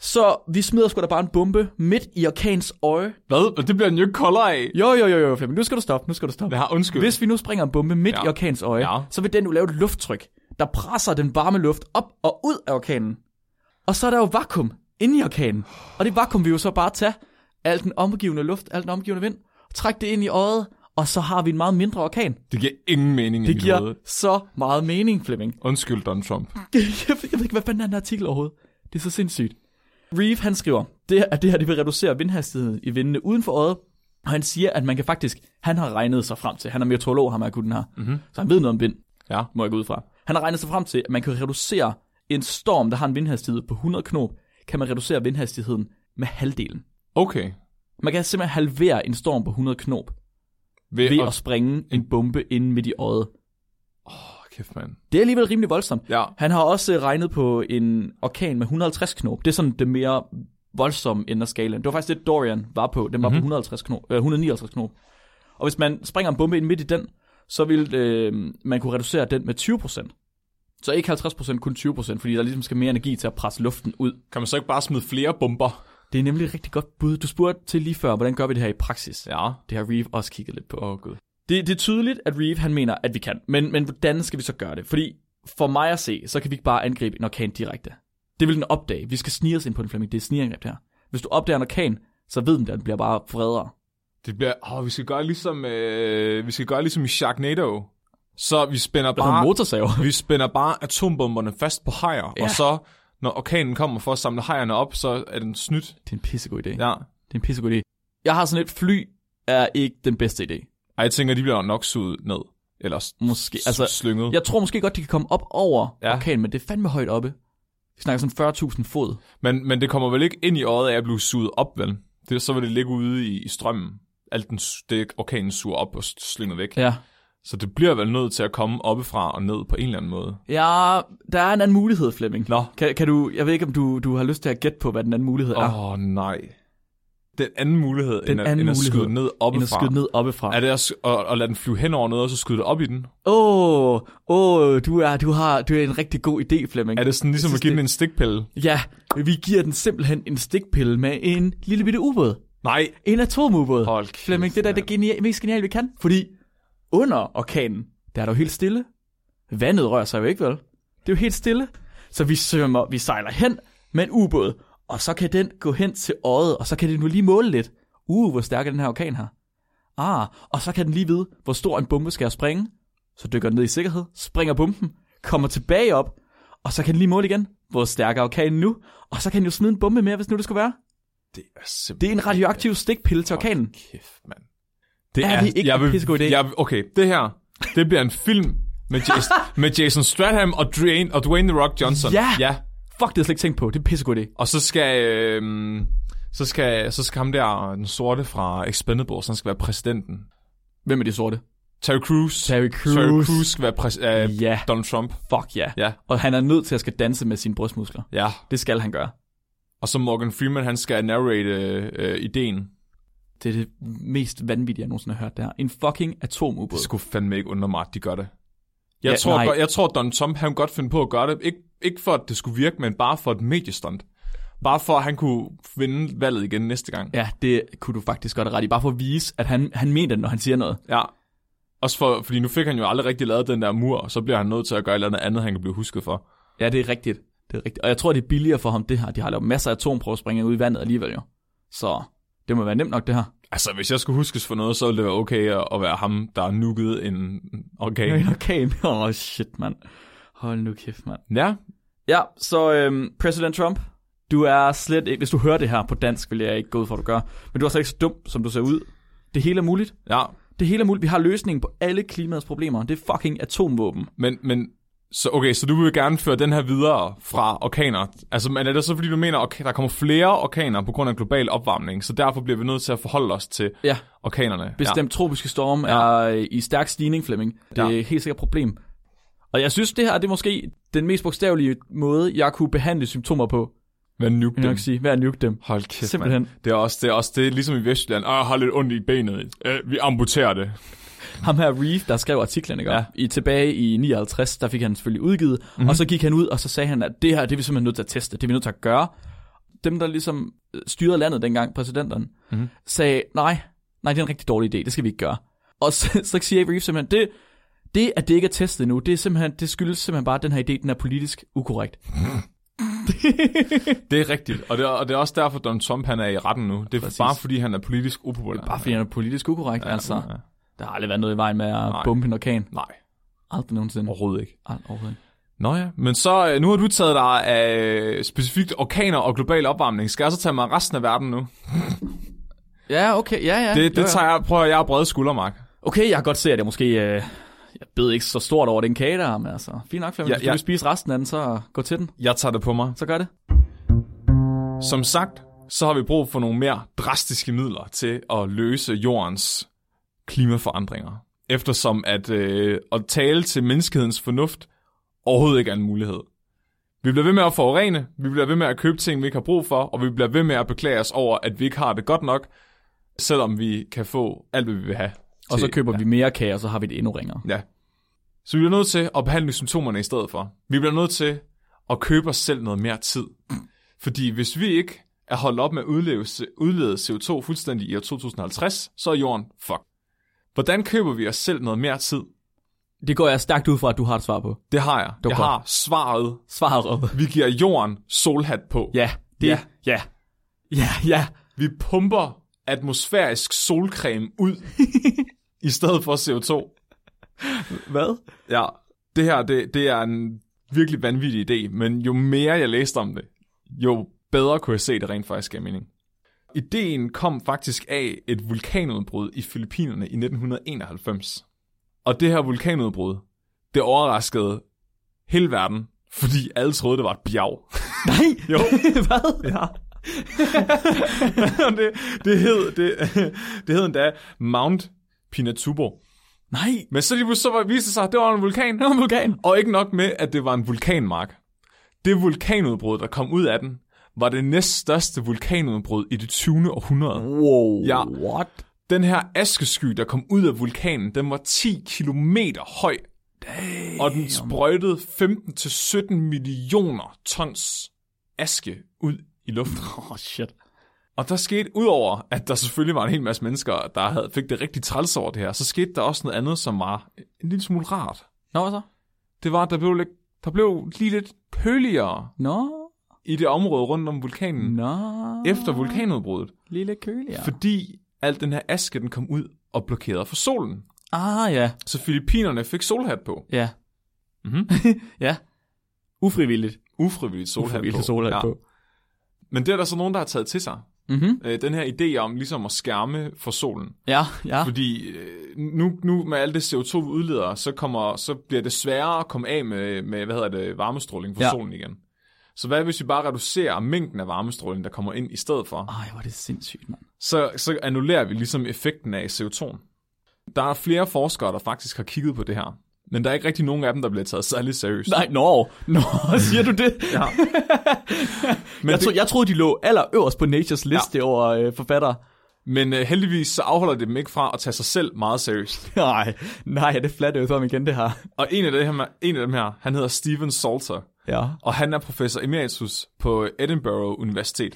[SPEAKER 1] Så vi smider sgu da bare en bombe midt i orkanens øje.
[SPEAKER 2] Hvad? Men det bliver den jo ikke koldere af.
[SPEAKER 1] Jo, jo, jo, jo, Flemming. Nu skal du stoppe, nu skal du stoppe.
[SPEAKER 2] Ja, undskyld.
[SPEAKER 1] Hvis vi nu springer en bombe midt
[SPEAKER 2] Ja.
[SPEAKER 1] ja. i orkanens øje,
[SPEAKER 2] Ja.
[SPEAKER 1] ja. så vil den jo lave et lufttryk, der presser den varme luft op og ud af orkanen. Og så er der jo vakuum inde i orkanen. Og det vakuum vil jo så bare tage al den omgivende luft, al den omgivende vind, og trække det ind i øjet, og så har vi en meget mindre orkan.
[SPEAKER 2] Det giver ingen mening i
[SPEAKER 1] Det
[SPEAKER 2] mit
[SPEAKER 1] giver
[SPEAKER 2] hoved.
[SPEAKER 1] så meget mening, Flemming.
[SPEAKER 2] Undskyld, Donald Trump.
[SPEAKER 1] jeg, ved, jeg ved ikke, hvad fanden er den artikel overhovedet. Det er så sindssygt. Reeve, han skriver, det, at det her det vil reducere vindhastigheden i vindene uden for øjet, og han siger, at man kan faktisk, han har regnet sig frem til, han er meteorolog, ham er gutten her, mm-hmm. så han ved noget om vind,
[SPEAKER 2] Ja.
[SPEAKER 1] må jeg gå ud fra. Han har regnet sig frem til, at man kan reducere en storm, der har en vindhastighed på 100 knop, kan man reducere vindhastigheden med halvdelen.
[SPEAKER 2] Okay.
[SPEAKER 1] Man kan simpelthen halvere en storm på 100 knop
[SPEAKER 2] Ved,
[SPEAKER 1] ved
[SPEAKER 2] at-
[SPEAKER 1] at springe en bombe ind midt i øjet.
[SPEAKER 2] Åh, kæft, mand.
[SPEAKER 1] Det er alligevel rimelig voldsomt.
[SPEAKER 2] Ja.
[SPEAKER 1] Han har også øh, regnet på en orkan med 150 knop. Det er sådan det mere voldsomme ende af skalaen. Det var faktisk det, Dorian var på. Den var mm-hmm. på 150 knop, øh, 159 knop. Og hvis man springer en bombe ind midt i den, så vil øh, man kunne reducere den med 20%. Så ikke 50%, kun 20%, fordi der ligesom skal mere energi til at presse luften ud.
[SPEAKER 2] Kan man så ikke bare smide flere bomber?
[SPEAKER 1] Det er nemlig et rigtig godt bud. Du spurgte til lige før, hvordan gør vi det her i praksis?
[SPEAKER 2] Ja.
[SPEAKER 1] Det har Reeve også kigget lidt på.
[SPEAKER 2] Åh, oh, gud.
[SPEAKER 1] Det, det er tydeligt, at Reeve han mener, at vi kan. Men, men hvordan skal vi så gøre det? Fordi for mig at se, så kan vi ikke bare angribe en orkan direkte. Det vil den opdage. Vi skal snige os ind på den Flemming. Det er snigerangreb det her. Hvis du opdager en orkan, så ved den, at den bliver bare fredere.
[SPEAKER 2] Det bliver... Åh, oh, vi skal gøre ligesom... Øh, vi skal gøre ligesom i Sharknado. Så vi spænder
[SPEAKER 1] Der er
[SPEAKER 2] bare...
[SPEAKER 1] motorsaver. <laughs>
[SPEAKER 2] Vi spænder bare atombomberne fast på hajer,
[SPEAKER 1] Ja.
[SPEAKER 2] ja. og så, når orkanen kommer for at samle hajerne op, så er den snydt.
[SPEAKER 1] Det er en pissegod idé.
[SPEAKER 2] Ja.
[SPEAKER 1] Det er en pissegod idé. Jeg har sådan et fly er ikke den bedste idé.
[SPEAKER 2] Ej, jeg tænker, de bliver nok suget ned. Eller s-
[SPEAKER 1] Måske.
[SPEAKER 2] s-
[SPEAKER 1] Altså,
[SPEAKER 2] slynget.
[SPEAKER 1] Jeg tror måske godt, de kan komme op over
[SPEAKER 2] Ja.
[SPEAKER 1] ja. orkanen, men det er fandme højt oppe. Vi snakker sådan 40.000 fod.
[SPEAKER 2] Men, men det kommer vel ikke ind i øjet af at blive suget op, vel? Det, så vil det ligge ude i, i strømmen. Alt den, s- det orkanen suger op og s- slynger væk.
[SPEAKER 1] Ja.
[SPEAKER 2] Så det bliver vel nødt til at komme oppefra og ned på en eller anden måde.
[SPEAKER 1] Ja, der er en anden mulighed, Flemming.
[SPEAKER 2] Nå.
[SPEAKER 1] Kan, kan du, jeg ved ikke, om du, du har lyst til at gætte på, hvad den anden mulighed er.
[SPEAKER 2] Åh, oh, nej. Den anden mulighed, den end, at,
[SPEAKER 1] anden
[SPEAKER 2] end at
[SPEAKER 1] mulighed,
[SPEAKER 2] skyde ned oppefra.
[SPEAKER 1] end at skyde ned oppefra.
[SPEAKER 2] Er det at, s- at, at lade den flyve hen over noget, og så skyde det op i den?
[SPEAKER 1] Åh, oh, oh, du, er, du, har, du er en rigtig god idé, Flemming.
[SPEAKER 2] Er det sådan ligesom
[SPEAKER 1] synes,
[SPEAKER 2] at give
[SPEAKER 1] det-
[SPEAKER 2] den en stikpille?
[SPEAKER 1] Ja, vi giver den simpelthen en stikpille med en lille bitte ubåd.
[SPEAKER 2] Nej.
[SPEAKER 1] En atomubåd.
[SPEAKER 2] Hold kæft,
[SPEAKER 1] Flemming, det der er det genial, mest geniale, vi kan. Fordi under orkanen, der er der jo helt stille. Vandet rører sig jo ikke, vel? Det er jo helt stille. Så vi svømmer, vi sejler hen med en ubåd, og så kan den gå hen til øjet, og så kan den jo lige måle lidt. Uh, hvor stærk er den her orkan her. Ah, og så kan den lige vide, hvor stor en bombe skal jeg springe. Så dykker den ned i sikkerhed, springer bomben, kommer tilbage op, og så kan den lige måle igen, hvor stærk er orkanen nu. Og så kan den jo smide en bombe mere, hvis nu det skulle være.
[SPEAKER 2] Det er simpelthen...
[SPEAKER 1] Det er en radioaktiv stikpille til orkanen.
[SPEAKER 2] Kæft, mand. Det
[SPEAKER 1] Er det ikke en pissegod idé?
[SPEAKER 2] Jeg, vil- okay, det her, det bliver en film med, Jason,
[SPEAKER 1] <laughs>
[SPEAKER 2] med Jason Stratham og Dwayne, og Dwayne The Rock Johnson.
[SPEAKER 1] Ja!
[SPEAKER 2] ja.
[SPEAKER 1] Fuck, det har jeg slet ikke tænkt på. Det er en pissegod idé.
[SPEAKER 2] Og så skal, øhm, så skal, så skal ham der, den sorte fra Expendables, han skal være præsidenten.
[SPEAKER 1] Hvem er de sorte?
[SPEAKER 2] Terry Crews.
[SPEAKER 1] Terry
[SPEAKER 2] Terry
[SPEAKER 1] Crews.
[SPEAKER 2] Crews skal være præs, øh,
[SPEAKER 1] Ja.
[SPEAKER 2] Donald Trump.
[SPEAKER 1] Fuck ja.
[SPEAKER 2] Ja.
[SPEAKER 1] Og han er nødt til at skal danse med sine brystmuskler.
[SPEAKER 2] Ja.
[SPEAKER 1] Det skal han gøre.
[SPEAKER 2] Og så Morgan Freeman, han skal narrate øh, øh, ideen.
[SPEAKER 1] Det er det mest vanvittige, jeg nogensinde har hørt der. En fucking atomubåd.
[SPEAKER 2] Det skulle fandme ikke undre mig, at de gør det. Jeg,
[SPEAKER 1] Ja,
[SPEAKER 2] tror,
[SPEAKER 1] nej.
[SPEAKER 2] godt, jeg tror, Donald Trump han kunne godt finde på at gøre det. Ikke, ikke for, at det skulle virke, men bare for et mediestunt. Bare for, at han kunne vinde valget igen næste gang.
[SPEAKER 1] Ja, det kunne du faktisk godt have ret i. Bare for at vise, at han, han mener det, når han siger noget.
[SPEAKER 2] Ja. Også for, fordi nu fik han jo aldrig rigtig lavet den der mur, og så bliver han nødt til at gøre et eller andet andet, han kan blive husket for.
[SPEAKER 1] Ja, det er rigtigt. Det er rigtigt. Og jeg tror, det er billigere for ham, det her. De har lavet masser af atomprøvesprængninger ud i vandet alligevel jo. Så det må være nemt nok, det her.
[SPEAKER 2] Altså, hvis jeg skulle huskes for noget, så ville det være okay at, at være ham, der nukkede en organ.
[SPEAKER 1] En orkan. <laughs> Åh, oh, shit, mand. Hold nu kæft, mand.
[SPEAKER 2] Ja,
[SPEAKER 1] Ja, så øhm, President Trump, du er slet ikke, hvis du hører det her på dansk, vil jeg ikke gå ud for, at du gør, men du er slet ikke så dum, som du ser ud. Det hele er muligt.
[SPEAKER 2] ja.
[SPEAKER 1] Det hele er muligt. Vi har løsningen på alle klimaets problemer. Det er fucking atomvåben.
[SPEAKER 2] Men, men så, okay, så du vil gerne føre den her videre fra orkaner. Altså, men er det så, fordi du mener, at der kommer flere orkaner på grund af global opvarmning, så derfor bliver vi nødt til at forholde os til
[SPEAKER 1] Ja,
[SPEAKER 2] orkanerne?
[SPEAKER 1] bestemt ja. tropiske storm er øh, i stærk stigning, Flemming. Det er
[SPEAKER 2] Ja.
[SPEAKER 1] ja. helt sikkert et problem. Og jeg synes, det her det er måske den mest bogstavelige måde, jeg kunne behandle symptomer på.
[SPEAKER 2] Ja. Hvad nuke
[SPEAKER 1] Kan jeg
[SPEAKER 2] dem?
[SPEAKER 1] nok sige, ved at nuke dem.
[SPEAKER 2] Hold kæft,
[SPEAKER 1] Simpelthen.
[SPEAKER 2] mand. Det er også det, er også det er ligesom i Vestjylland. Åh, jeg har lidt ondt i benet. Øh, vi amputerer det.
[SPEAKER 1] Ham her Reeve, der skrev artiklen, ikke?
[SPEAKER 2] Ja. Mhm.
[SPEAKER 1] Ja. I, tilbage i 59, der fik han selvfølgelig udgivet, mm-hmm. og så gik han ud, og så sagde han, at det her, det er vi simpelthen nødt til at teste, det er vi nødt til at gøre. Dem, der ligesom øh, styrede landet dengang, præsidenten,
[SPEAKER 2] Mhm.
[SPEAKER 1] mm-hmm. sagde, nej, nej, det er en rigtig dårlig idé, det skal vi ikke gøre. Og så, <laughs> så siger Reeve simpelthen, det, det, at det ikke er testet nu, det, er simpelthen, det skyldes simpelthen bare, at den her idé, den er politisk ukorrekt.
[SPEAKER 2] Det er rigtigt. Og det er, og det er også derfor, Donald Trump han er i retten nu. Det er Præcis.
[SPEAKER 1] Præcis.
[SPEAKER 2] bare fordi, han er politisk upopulær.
[SPEAKER 1] Bare fordi den er politisk ukorrekt, ja, altså.
[SPEAKER 2] Ja.
[SPEAKER 1] Der har aldrig været noget i vejen med at bombe en orkan.
[SPEAKER 2] Nej,
[SPEAKER 1] Aldrig nogensinde.
[SPEAKER 2] overhovedet ikke.
[SPEAKER 1] Ald- Overhovedet. ikke.
[SPEAKER 2] Nå ja, men så øh, nu har du taget dig af øh, specifikt orkaner og global opvarmning. Skal jeg så tage mig af resten af verden nu?
[SPEAKER 1] Ja, okay, ja, ja.
[SPEAKER 2] Det,
[SPEAKER 1] Jo,
[SPEAKER 2] det
[SPEAKER 1] jo.
[SPEAKER 2] tager jeg, prøver jeg at brede skuldermark.
[SPEAKER 1] Okay, jeg kan godt se, at jeg måske... Øh, jeg bed ikke så stort over den kage der, men altså... Fint nok, Flemming.
[SPEAKER 2] Ja,
[SPEAKER 1] Ja, Hvis
[SPEAKER 2] ja.
[SPEAKER 1] du vil spise resten af den, så gå til den.
[SPEAKER 2] Jeg tager det på mig.
[SPEAKER 1] Så gør det.
[SPEAKER 2] Som sagt, så har vi brug for nogle mere drastiske midler til at løse jordens klimaforandringer. Eftersom at, øh, at tale til menneskehedens fornuft overhovedet ikke er en mulighed. Vi bliver ved med at forurene, vi bliver ved med at købe ting, vi ikke har brug for, og vi bliver ved med at beklage os over, at vi ikke har det godt nok, selvom vi kan få alt, hvad vi vil have.
[SPEAKER 1] Og så
[SPEAKER 2] til-
[SPEAKER 1] køber vi mere kage, og så har vi det endnu ringere.
[SPEAKER 2] Ja. Så vi bliver nødt til at behandle symptomerne i stedet for. Vi bliver nødt til at købe os selv noget mere tid. Fordi hvis vi ikke at holde op med at udleve, udlede CO2 fuldstændig i år 2050, så er jorden fuck. Hvordan køber vi os selv noget mere tid?
[SPEAKER 1] Det går jeg stærkt ud fra, at du har et svar på.
[SPEAKER 2] Det har jeg.
[SPEAKER 1] var
[SPEAKER 2] jeg
[SPEAKER 1] godt.
[SPEAKER 2] har svaret.
[SPEAKER 1] Svaret op.
[SPEAKER 2] Vi giver jorden solhat på.
[SPEAKER 1] Ja, det,
[SPEAKER 2] Ja.
[SPEAKER 1] ja. ja. Ja, ja.
[SPEAKER 2] Vi pumper atmosfærisk solcreme ud, i stedet for CO2.
[SPEAKER 1] Hvad?
[SPEAKER 2] Ja, det her, det, det er en virkelig vanvittig idé, men jo mere jeg læste om det, jo bedre kunne jeg se, at det rent faktisk gav mening. Ideen kom faktisk af et vulkanudbrud i Filippinerne i 1991. Og det her vulkanudbrud, det overraskede hele verden, fordi alle troede, det var et bjerg.
[SPEAKER 1] Nej.
[SPEAKER 2] Jo.
[SPEAKER 1] <laughs> Hvad? Ja.
[SPEAKER 2] Og <laughs> det, det, hed, det, det hed endda Mount Pinatubo.
[SPEAKER 1] Nej.
[SPEAKER 2] Men så lige pludselig så var- viste det sig, at det var en vulkan.
[SPEAKER 1] Det var en vulkan.
[SPEAKER 2] Og ikke nok med, at det var en vulkanmark. Det vulkanudbrud, der kom ud af den, var det næststørste vulkanudbrud i det 20. århundrede.
[SPEAKER 1] Wow.
[SPEAKER 2] Ja.
[SPEAKER 1] What?
[SPEAKER 2] Den her askesky, der kom ud af vulkanen, den var 10 km høj. Og den sprøjtede 15-17 millioner tons aske ud i luften.
[SPEAKER 1] Åh, oh, shit.
[SPEAKER 2] Og der skete, udover at der selvfølgelig var en hel masse mennesker, der havde, fik det rigtig træls over det her, så skete der også noget andet, som var en lille smule rart.
[SPEAKER 1] Nå, hvad så?
[SPEAKER 2] Det var, at der blev, lidt, der blev lige lidt køligere
[SPEAKER 1] Nå.
[SPEAKER 2] i det område rundt om vulkanen
[SPEAKER 1] Nå.
[SPEAKER 2] Mm. efter vulkanudbruddet,
[SPEAKER 1] Lille køligere.
[SPEAKER 2] fordi al den her aske, den kom ud og blokerede for solen.
[SPEAKER 1] Ah, ja.
[SPEAKER 2] Så filippinerne fik solhat på.
[SPEAKER 1] Ja.
[SPEAKER 2] Mhm.
[SPEAKER 1] <laughs> ja. Ufrivilligt.
[SPEAKER 2] Ufrivilligt solhat
[SPEAKER 1] Ufrivilligt
[SPEAKER 2] på.
[SPEAKER 1] solhat på.
[SPEAKER 2] Men det er der så nogen, der har taget til sig.
[SPEAKER 1] Mhm.
[SPEAKER 2] Øh, Den her idé om ligesom at skærme for solen.
[SPEAKER 1] Ja, ja.
[SPEAKER 2] Fordi øh, nu, nu med alt det CO2, vi udleder, så, kommer, så bliver det sværere at komme af med, med hvad hedder det, varmestråling fra ja.
[SPEAKER 1] Ja.
[SPEAKER 2] solen igen. Så hvad hvis vi bare reducerer mængden af varmestråling, der kommer ind i stedet for?
[SPEAKER 1] Ej, hvor er det sindssygt, mand.
[SPEAKER 2] så, så annullerer vi ligesom effekten af CO2. Der er flere forskere, der faktisk har kigget på det her, men der er ikke rigtig nogen af dem, der bliver taget særlig seriøst.
[SPEAKER 1] Nej, nå. Nå, <laughs> siger du det?
[SPEAKER 2] Ja.
[SPEAKER 1] Men jeg, tro, jeg troede, de lå allerøverst på Natures liste ja. over øh, forfattere. <laughs>
[SPEAKER 2] Men uh, heldigvis så afholder det dem ikke fra at tage sig selv meget seriøst.
[SPEAKER 1] Nej, nej, er det flat earth om igen, det her?
[SPEAKER 2] Og en af, dem her, en af dem her, han hedder Steven Salter,
[SPEAKER 1] Ja.
[SPEAKER 2] og han er professor emeritus på Edinburgh Universitet.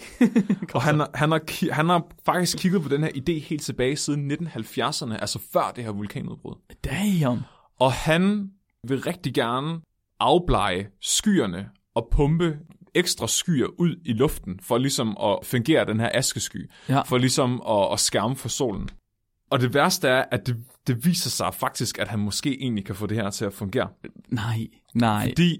[SPEAKER 2] og han, har- han, har, ki- han har faktisk kigget på den her idé helt tilbage siden 1970'erne, altså før det her vulkanudbrud.
[SPEAKER 1] Damn.
[SPEAKER 2] Og han vil rigtig gerne afblege skyerne og pumpe ekstra skyer ud i luften, for ligesom at fungere den her askesky,
[SPEAKER 1] Ja.
[SPEAKER 2] for ligesom at, at skærme for solen. Og det værste er, at det, det viser sig faktisk, at han måske egentlig kan få det her til at fungere.
[SPEAKER 1] Nej, nej.
[SPEAKER 2] Fordi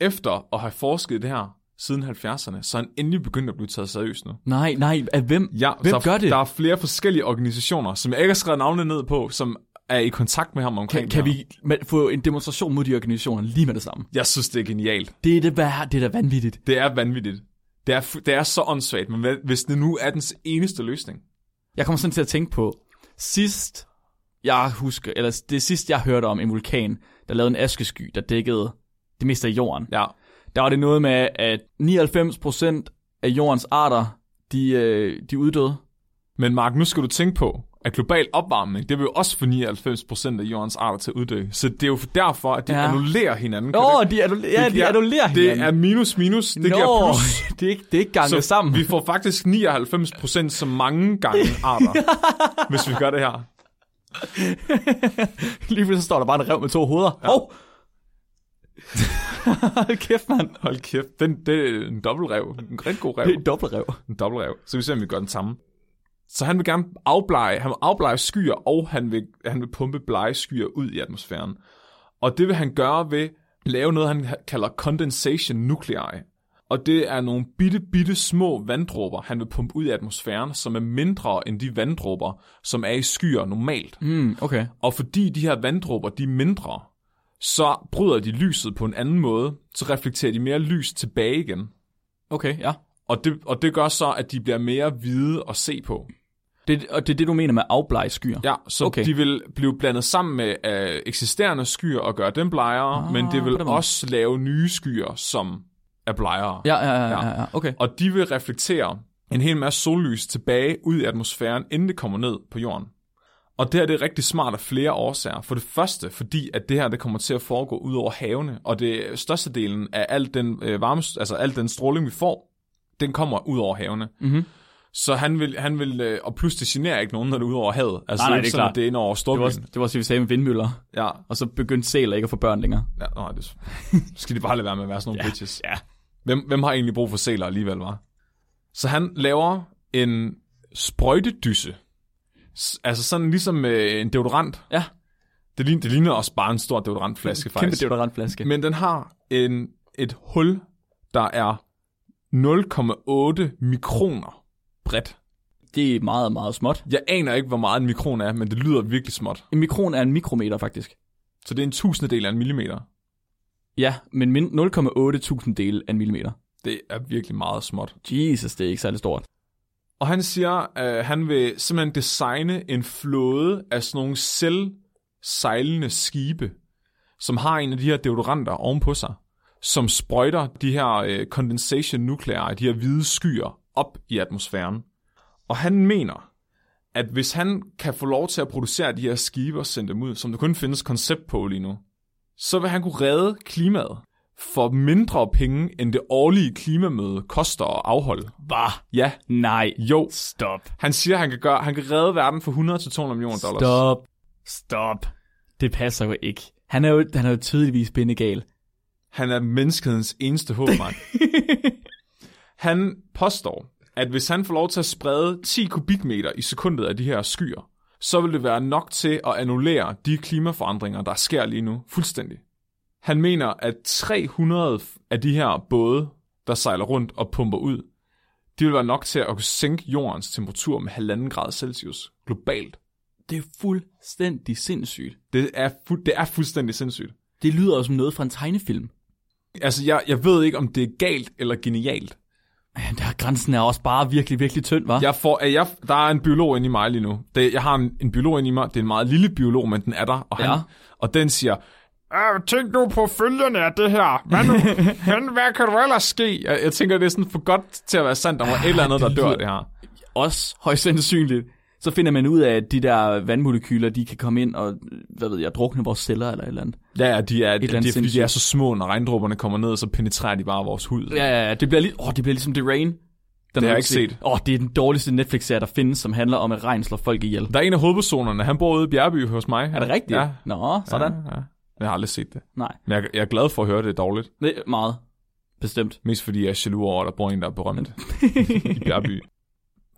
[SPEAKER 2] efter at have forsket i det her siden 70'erne, så er han endelig begyndt at blive taget seriøst nu.
[SPEAKER 1] Nej, nej, af hvem?
[SPEAKER 2] Ja,
[SPEAKER 1] hvem
[SPEAKER 2] der,
[SPEAKER 1] gør det?
[SPEAKER 2] Der er flere forskellige organisationer, som jeg ikke har skrevet navnene ned på, som er i kontakt med ham omkring
[SPEAKER 1] kan,
[SPEAKER 2] det
[SPEAKER 1] kan
[SPEAKER 2] her.
[SPEAKER 1] vi ma- få en demonstration mod de organisationer lige med det samme?
[SPEAKER 2] Jeg synes, det er genialt.
[SPEAKER 1] Det er det, hvad, det er da vanvittigt.
[SPEAKER 2] Det er vanvittigt. Det er, fu- det er så åndssvagt, men hvad- hvis det nu er dens eneste løsning.
[SPEAKER 1] Jeg kommer sådan til at tænke på, sidst jeg husker, eller det sidste jeg hørte om en vulkan, der lavede en askesky, der dækkede det meste af jorden.
[SPEAKER 2] Ja,
[SPEAKER 1] Der var det noget med, at 99% af jordens arter, de, øh, de uddøde.
[SPEAKER 2] men Mark, nu skal du tænke på, at global opvarmning, det vil jo også få 99% af jordens arter til at uddø. Så det er jo derfor, at de ja.
[SPEAKER 1] Ja.
[SPEAKER 2] annullerer hinanden. kan
[SPEAKER 1] Åh,
[SPEAKER 2] du
[SPEAKER 1] oh,
[SPEAKER 2] ikke?
[SPEAKER 1] de, annul- ja, de
[SPEAKER 2] giver-
[SPEAKER 1] annullerer
[SPEAKER 2] Det
[SPEAKER 1] hinanden.
[SPEAKER 2] er minus minus, det
[SPEAKER 1] Nå,
[SPEAKER 2] giver plus.
[SPEAKER 1] <laughs> det er ikke, det er ikke ganget sammen.
[SPEAKER 2] vi får faktisk 99% så mange
[SPEAKER 1] <laughs>
[SPEAKER 2] gange arter, hvis vi gør det her.
[SPEAKER 1] Lige pludselig så står der bare en rev med to hoveder. Ja. Hov! <laughs> Hold kæft, mand.
[SPEAKER 2] Hold kæft, den, det er en dobbeltrev. En rigtig god rev.
[SPEAKER 1] Det er en dobbeltrev.
[SPEAKER 2] en dobbeltrev. Så vi ser, om vi gør den samme. Så han vil gerne afblege, han vil afblege skyer, og han vil, han vil pumpe blege skyer ud i atmosfæren. Og det vil han gøre ved at lave noget, han kalder condensation nuclei. Og det er nogle bitte, bitte små vanddråber, han vil pumpe ud i atmosfæren, som er mindre end de vanddråber, som er i skyer normalt.
[SPEAKER 1] Mm, okay.
[SPEAKER 2] Og fordi de her vanddråber, de er mindre, så bryder de lyset på en anden måde, så reflekterer de mere lys tilbage igen.
[SPEAKER 1] Okay, ja.
[SPEAKER 2] Og det, og det gør så, at de bliver mere hvide at se på.
[SPEAKER 1] Det, og det er det, du mener med afblege skyer.
[SPEAKER 2] Ja, så okay.
[SPEAKER 1] Okay.
[SPEAKER 2] de vil blive blandet sammen med øh, eksisterende skyer og gøre dem blegere, ah,
[SPEAKER 1] Ah,
[SPEAKER 2] men det
[SPEAKER 1] på
[SPEAKER 2] vil
[SPEAKER 1] den måde.
[SPEAKER 2] også lave nye skyer, som er blegere.
[SPEAKER 1] Ja, ja, ja, ja, ja. Okay.
[SPEAKER 2] Og de vil reflektere en hel masse sollys tilbage ud i atmosfæren, inden det kommer ned på jorden. Og det her det er rigtig smart af flere årsager. For det første, fordi at det her det kommer til at foregå ud over havene, og det størstedelen af al den, øh, varme, altså al den stråling, vi får, den kommer ud over havene.
[SPEAKER 1] Mhm.
[SPEAKER 2] Så han vil, han vil, øh, og plus det generer ikke nogen, når det er ud over havet. Altså,
[SPEAKER 1] Nej, nej,
[SPEAKER 2] ikke
[SPEAKER 1] det er
[SPEAKER 2] sådan,
[SPEAKER 1] klart.
[SPEAKER 2] at det er ind over
[SPEAKER 1] Det var,
[SPEAKER 2] storbyen.
[SPEAKER 1] også, det var også, det, vi sagde med vindmøller.
[SPEAKER 2] Ja,
[SPEAKER 1] Og så begyndte sæler ikke at få børn længere.
[SPEAKER 2] ja nej, det <laughs> skal de bare lade være med at være sådan nogle bitches.
[SPEAKER 1] Ja.
[SPEAKER 2] Hvem, hvem har egentlig brug for sæler alligevel, var? Så han laver en sprøjtedysse. S- altså sådan ligesom øh, en deodorant.
[SPEAKER 1] Ja,
[SPEAKER 2] Det ligner, det ligner også bare en stor deodorantflaske,
[SPEAKER 1] kæmpe
[SPEAKER 2] faktisk.
[SPEAKER 1] deodorantflaske.
[SPEAKER 2] Men den har en, et hul, der er 0,8 mikroner bredt.
[SPEAKER 1] Det er meget, meget småt.
[SPEAKER 2] Jeg aner ikke, hvor meget en mikron er, men det lyder virkelig småt.
[SPEAKER 1] En mikron er en mikrometer, faktisk.
[SPEAKER 2] Så det er en tusindedel af en millimeter.
[SPEAKER 1] Ja, men min- 0,8 tusindel af en millimeter.
[SPEAKER 2] Det er virkelig meget småt.
[SPEAKER 1] Jesus, det er ikke særlig stort.
[SPEAKER 2] Og han siger, øh, han vil simpelthen designe en flåde af sådan nogle selv sejlende skibe, som har en af de her deodoranter ovenpå sig, som sprøjter de her øh, condensation nuclei, de her hvide skyer, op i atmosfæren. Og han mener, at hvis han kan få lov til at producere de her skibe og sende dem ud, som der kun findes koncept på lige nu, så vil han kunne redde klimaet for mindre penge, end det årlige klimamøde koster at afholde.
[SPEAKER 1] Bah,
[SPEAKER 2] Ja,
[SPEAKER 1] nej.
[SPEAKER 2] jo,
[SPEAKER 1] Stop.
[SPEAKER 2] han siger, han kan, gøre, han kan redde verden for 100 til 200 millioner dollars.
[SPEAKER 1] Stop. Stop. Det passer jo ikke. Han er jo, han er jo tydeligvis bindegal. <laughs>
[SPEAKER 2] Han er menneskehedens eneste håb, mand. han påstår, at hvis han får lov til at sprede 10 kubikmeter i sekundet af de her skyer, så vil det være nok til at annullere de klimaforandringer, der sker lige nu fuldstændig. Han mener, at 300 af de her både, der sejler rundt og pumper ud, de vil være nok til at kunne sænke jordens temperatur med 1,5 grad Celsius globalt.
[SPEAKER 1] Det er fuldstændig sindssygt.
[SPEAKER 2] Det er, fu- det er fuldstændig sindssygt.
[SPEAKER 1] Det lyder jo som noget fra en tegnefilm.
[SPEAKER 2] Altså, jeg, jeg ved ikke, om det er galt eller genialt.
[SPEAKER 1] Men Der grænsen er også bare virkelig, virkelig tynd, var.
[SPEAKER 2] Jeg får, at jeg, der er en biolog inde i mig lige nu. Det, jeg har en, en biolog inde i mig. Det er en meget lille biolog, men den er der. Og, han,
[SPEAKER 1] Ja.
[SPEAKER 2] og den siger, "Ah, tænk nu på følgerne af det her. Hvad,
[SPEAKER 1] <laughs>
[SPEAKER 2] nu, men hvad kan der ellers ske? Jeg, jeg tænker, det er sådan for godt til at være sandt, der var et eller andet, der
[SPEAKER 1] det
[SPEAKER 2] dør
[SPEAKER 1] lyder-
[SPEAKER 2] af det her.
[SPEAKER 1] Også højst sandsynligt. Så finder man ud af, at de der vandmolekyler, de kan komme ind og, hvad ved jeg, drukne vores celler eller et eller andet.
[SPEAKER 2] Ja, ja, de er,
[SPEAKER 1] eller
[SPEAKER 2] det
[SPEAKER 1] andet
[SPEAKER 2] er fordi, de er
[SPEAKER 1] sindssygt.
[SPEAKER 2] så små, når regndrupperne kommer ned, så penetrerer de bare vores hud.
[SPEAKER 1] Ja, ja, ja. Det bliver, lige, åh, det bliver ligesom The Rain. Den har
[SPEAKER 2] jeg
[SPEAKER 1] du
[SPEAKER 2] ikke set.
[SPEAKER 1] Åh, det er den dårligste Netflix-serie, der findes, som handler om, at regn slår folk ihjel.
[SPEAKER 2] Der er en af hovedpersonerne, han bor ude i Bjergby hos mig.
[SPEAKER 1] Er det rigtigt?
[SPEAKER 2] Ja.
[SPEAKER 1] Nå, sådan. Ja.
[SPEAKER 2] Ja, ja. Jeg har aldrig set det.
[SPEAKER 1] Nej,
[SPEAKER 2] Men jeg, jeg er glad for at høre, det er dårligt.
[SPEAKER 1] det er meget. Bestemt.
[SPEAKER 2] Mest fordi jeg er jaloux over, at der bor en, der er
[SPEAKER 1] <laughs>
[SPEAKER 2] berømt i Bjergby.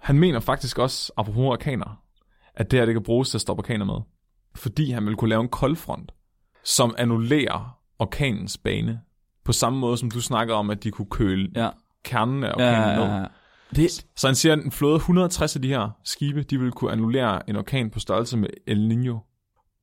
[SPEAKER 2] Han mener faktisk også, apropos orkaner, at det her det kan bruges til at stoppe orkaner med. Fordi han vil kunne lave en koldfront, som annullerer orkanens bane. På samme måde, som du snakker om, at de kunne køle
[SPEAKER 1] Ja.
[SPEAKER 2] kernen af
[SPEAKER 1] Ja,
[SPEAKER 2] orkanen
[SPEAKER 1] ja, ja,
[SPEAKER 2] ned.
[SPEAKER 1] ja. Det,
[SPEAKER 2] Så han siger, at en flåde 160 af de her skibe, de vil kunne annullere en orkan på størrelse med El Niño.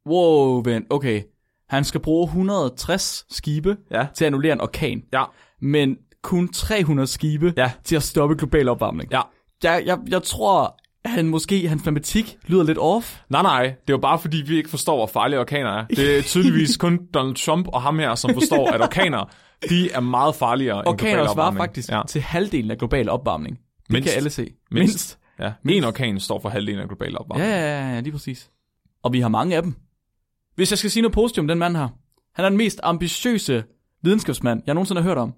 [SPEAKER 1] wow, vent, okay. Han skal bruge 160 skibe
[SPEAKER 2] Ja.
[SPEAKER 1] til at annullere en orkan.
[SPEAKER 2] Ja.
[SPEAKER 1] Men kun 300 skibe
[SPEAKER 2] Ja.
[SPEAKER 1] til at stoppe global opvarmning.
[SPEAKER 2] Ja.
[SPEAKER 1] Jeg, jeg, jeg tror, han måske, hans matematik lyder lidt off.
[SPEAKER 2] Nej, nej, det er jo bare fordi, vi ikke forstår, hvor farlige orkaner er. Det er tydeligvis kun Donald Trump og ham her, som forstår, at orkaner, de er meget farligere end global
[SPEAKER 1] Orkaner svarer
[SPEAKER 2] opvarmning.
[SPEAKER 1] faktisk
[SPEAKER 2] Ja.
[SPEAKER 1] ja. til halvdelen af global opvarmning. Det
[SPEAKER 2] Mindst.
[SPEAKER 1] kan alle se.
[SPEAKER 2] Mindst.
[SPEAKER 1] Mindst.
[SPEAKER 2] Ja. En orkan står for halvdelen af global
[SPEAKER 1] Ja,
[SPEAKER 2] opvarmning.
[SPEAKER 1] ja, ja, ja, lige præcis. Og vi har mange af dem. Hvis jeg skal sige noget positivt om den mand her. Han er den mest ambitiøse videnskabsmand, jeg nogensinde har hørt om.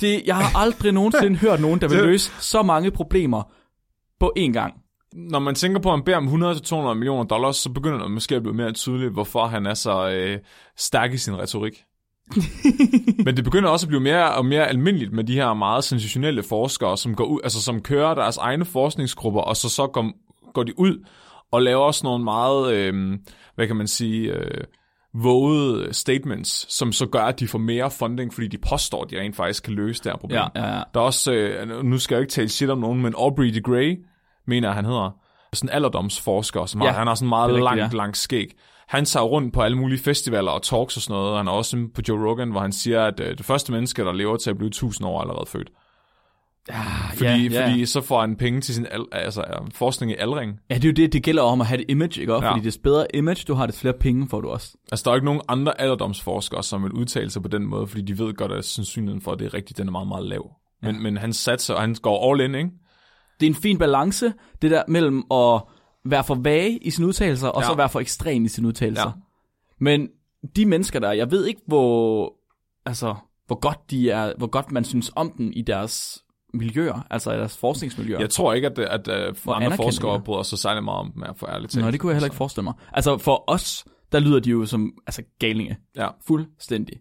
[SPEAKER 1] Det, jeg har <laughs> aldrig nogensinde hørt nogen, der vil
[SPEAKER 2] Det-
[SPEAKER 1] løse så mange problemer på én gang.
[SPEAKER 2] Når man tænker på, at han beder om 100-200 millioner dollars, så begynder det måske at blive mere tydeligt, hvorfor han er så øh, stærk i sin
[SPEAKER 1] <laughs>
[SPEAKER 2] retorik. Men det begynder også at blive mere og mere almindeligt med de her meget sensationelle forskere, som går ud, altså som kører deres egne forskningsgrupper, og så så går, går de ud og laver også nogle meget, øh, hvad kan man sige, øh, vågede statements, som så gør, at de får mere funding, fordi de påstår, at de rent faktisk kan løse det her problem.
[SPEAKER 1] Ja, ja, ja.
[SPEAKER 2] Der er også, øh, nu skal jeg jo ikke tale shit om nogen, men Aubrey de Grey, mener jeg, han hedder, sådan en alderdomsforsker, som ja,
[SPEAKER 1] Ja,
[SPEAKER 2] har, han har sådan meget
[SPEAKER 1] det er
[SPEAKER 2] langt,
[SPEAKER 1] rigtigt,
[SPEAKER 2] langt,
[SPEAKER 1] ja.
[SPEAKER 2] langt skæg. Han tager rundt på alle mulige festivaler og talks og sådan noget, og han er også på Joe Rogan, hvor han siger, at øh, det første menneske, der lever til at blive 1000 år, er allerede født. Fordi,
[SPEAKER 1] Ah, ja, ja.
[SPEAKER 2] fordi så får han penge til sin al- altså, øh, forskning i aldring.
[SPEAKER 1] Ja, det er jo det, det gælder om at have et image, ikke? Og
[SPEAKER 2] Ja.
[SPEAKER 1] Fordi des bedre image du har, des flere penge får du også.
[SPEAKER 2] Altså, der er jo ikke nogen andre alderdomsforskere, som vil udtale sig på den måde, fordi de ved godt, at sandsynligheden for, at det er rigtigt, den er meget, meget lav. Men, men han satser, og han går all in, ikke?
[SPEAKER 1] Det er en fin balance, det der mellem at være for vage i sine udtalelser, og
[SPEAKER 2] Ja.
[SPEAKER 1] så være for ekstrem i sine udtalelser.
[SPEAKER 2] Ja.
[SPEAKER 1] Ja. Men de mennesker der, er, jeg ved ikke, hvor, altså, hvor, godt de er, hvor godt man synes om dem i deres miljøer, altså i deres forskningsmiljøer.
[SPEAKER 2] Jeg tror ikke, at, øh, at, at
[SPEAKER 1] Hvor
[SPEAKER 2] andre
[SPEAKER 1] anerkendte de
[SPEAKER 2] forskere
[SPEAKER 1] er.
[SPEAKER 2] bryder sig særlig meget om dem, er for ærligt
[SPEAKER 1] Nå, det kunne jeg heller ikke forestille mig. Altså for os, der lyder de jo som altså galinge.
[SPEAKER 2] Ja.
[SPEAKER 1] Fuldstændig.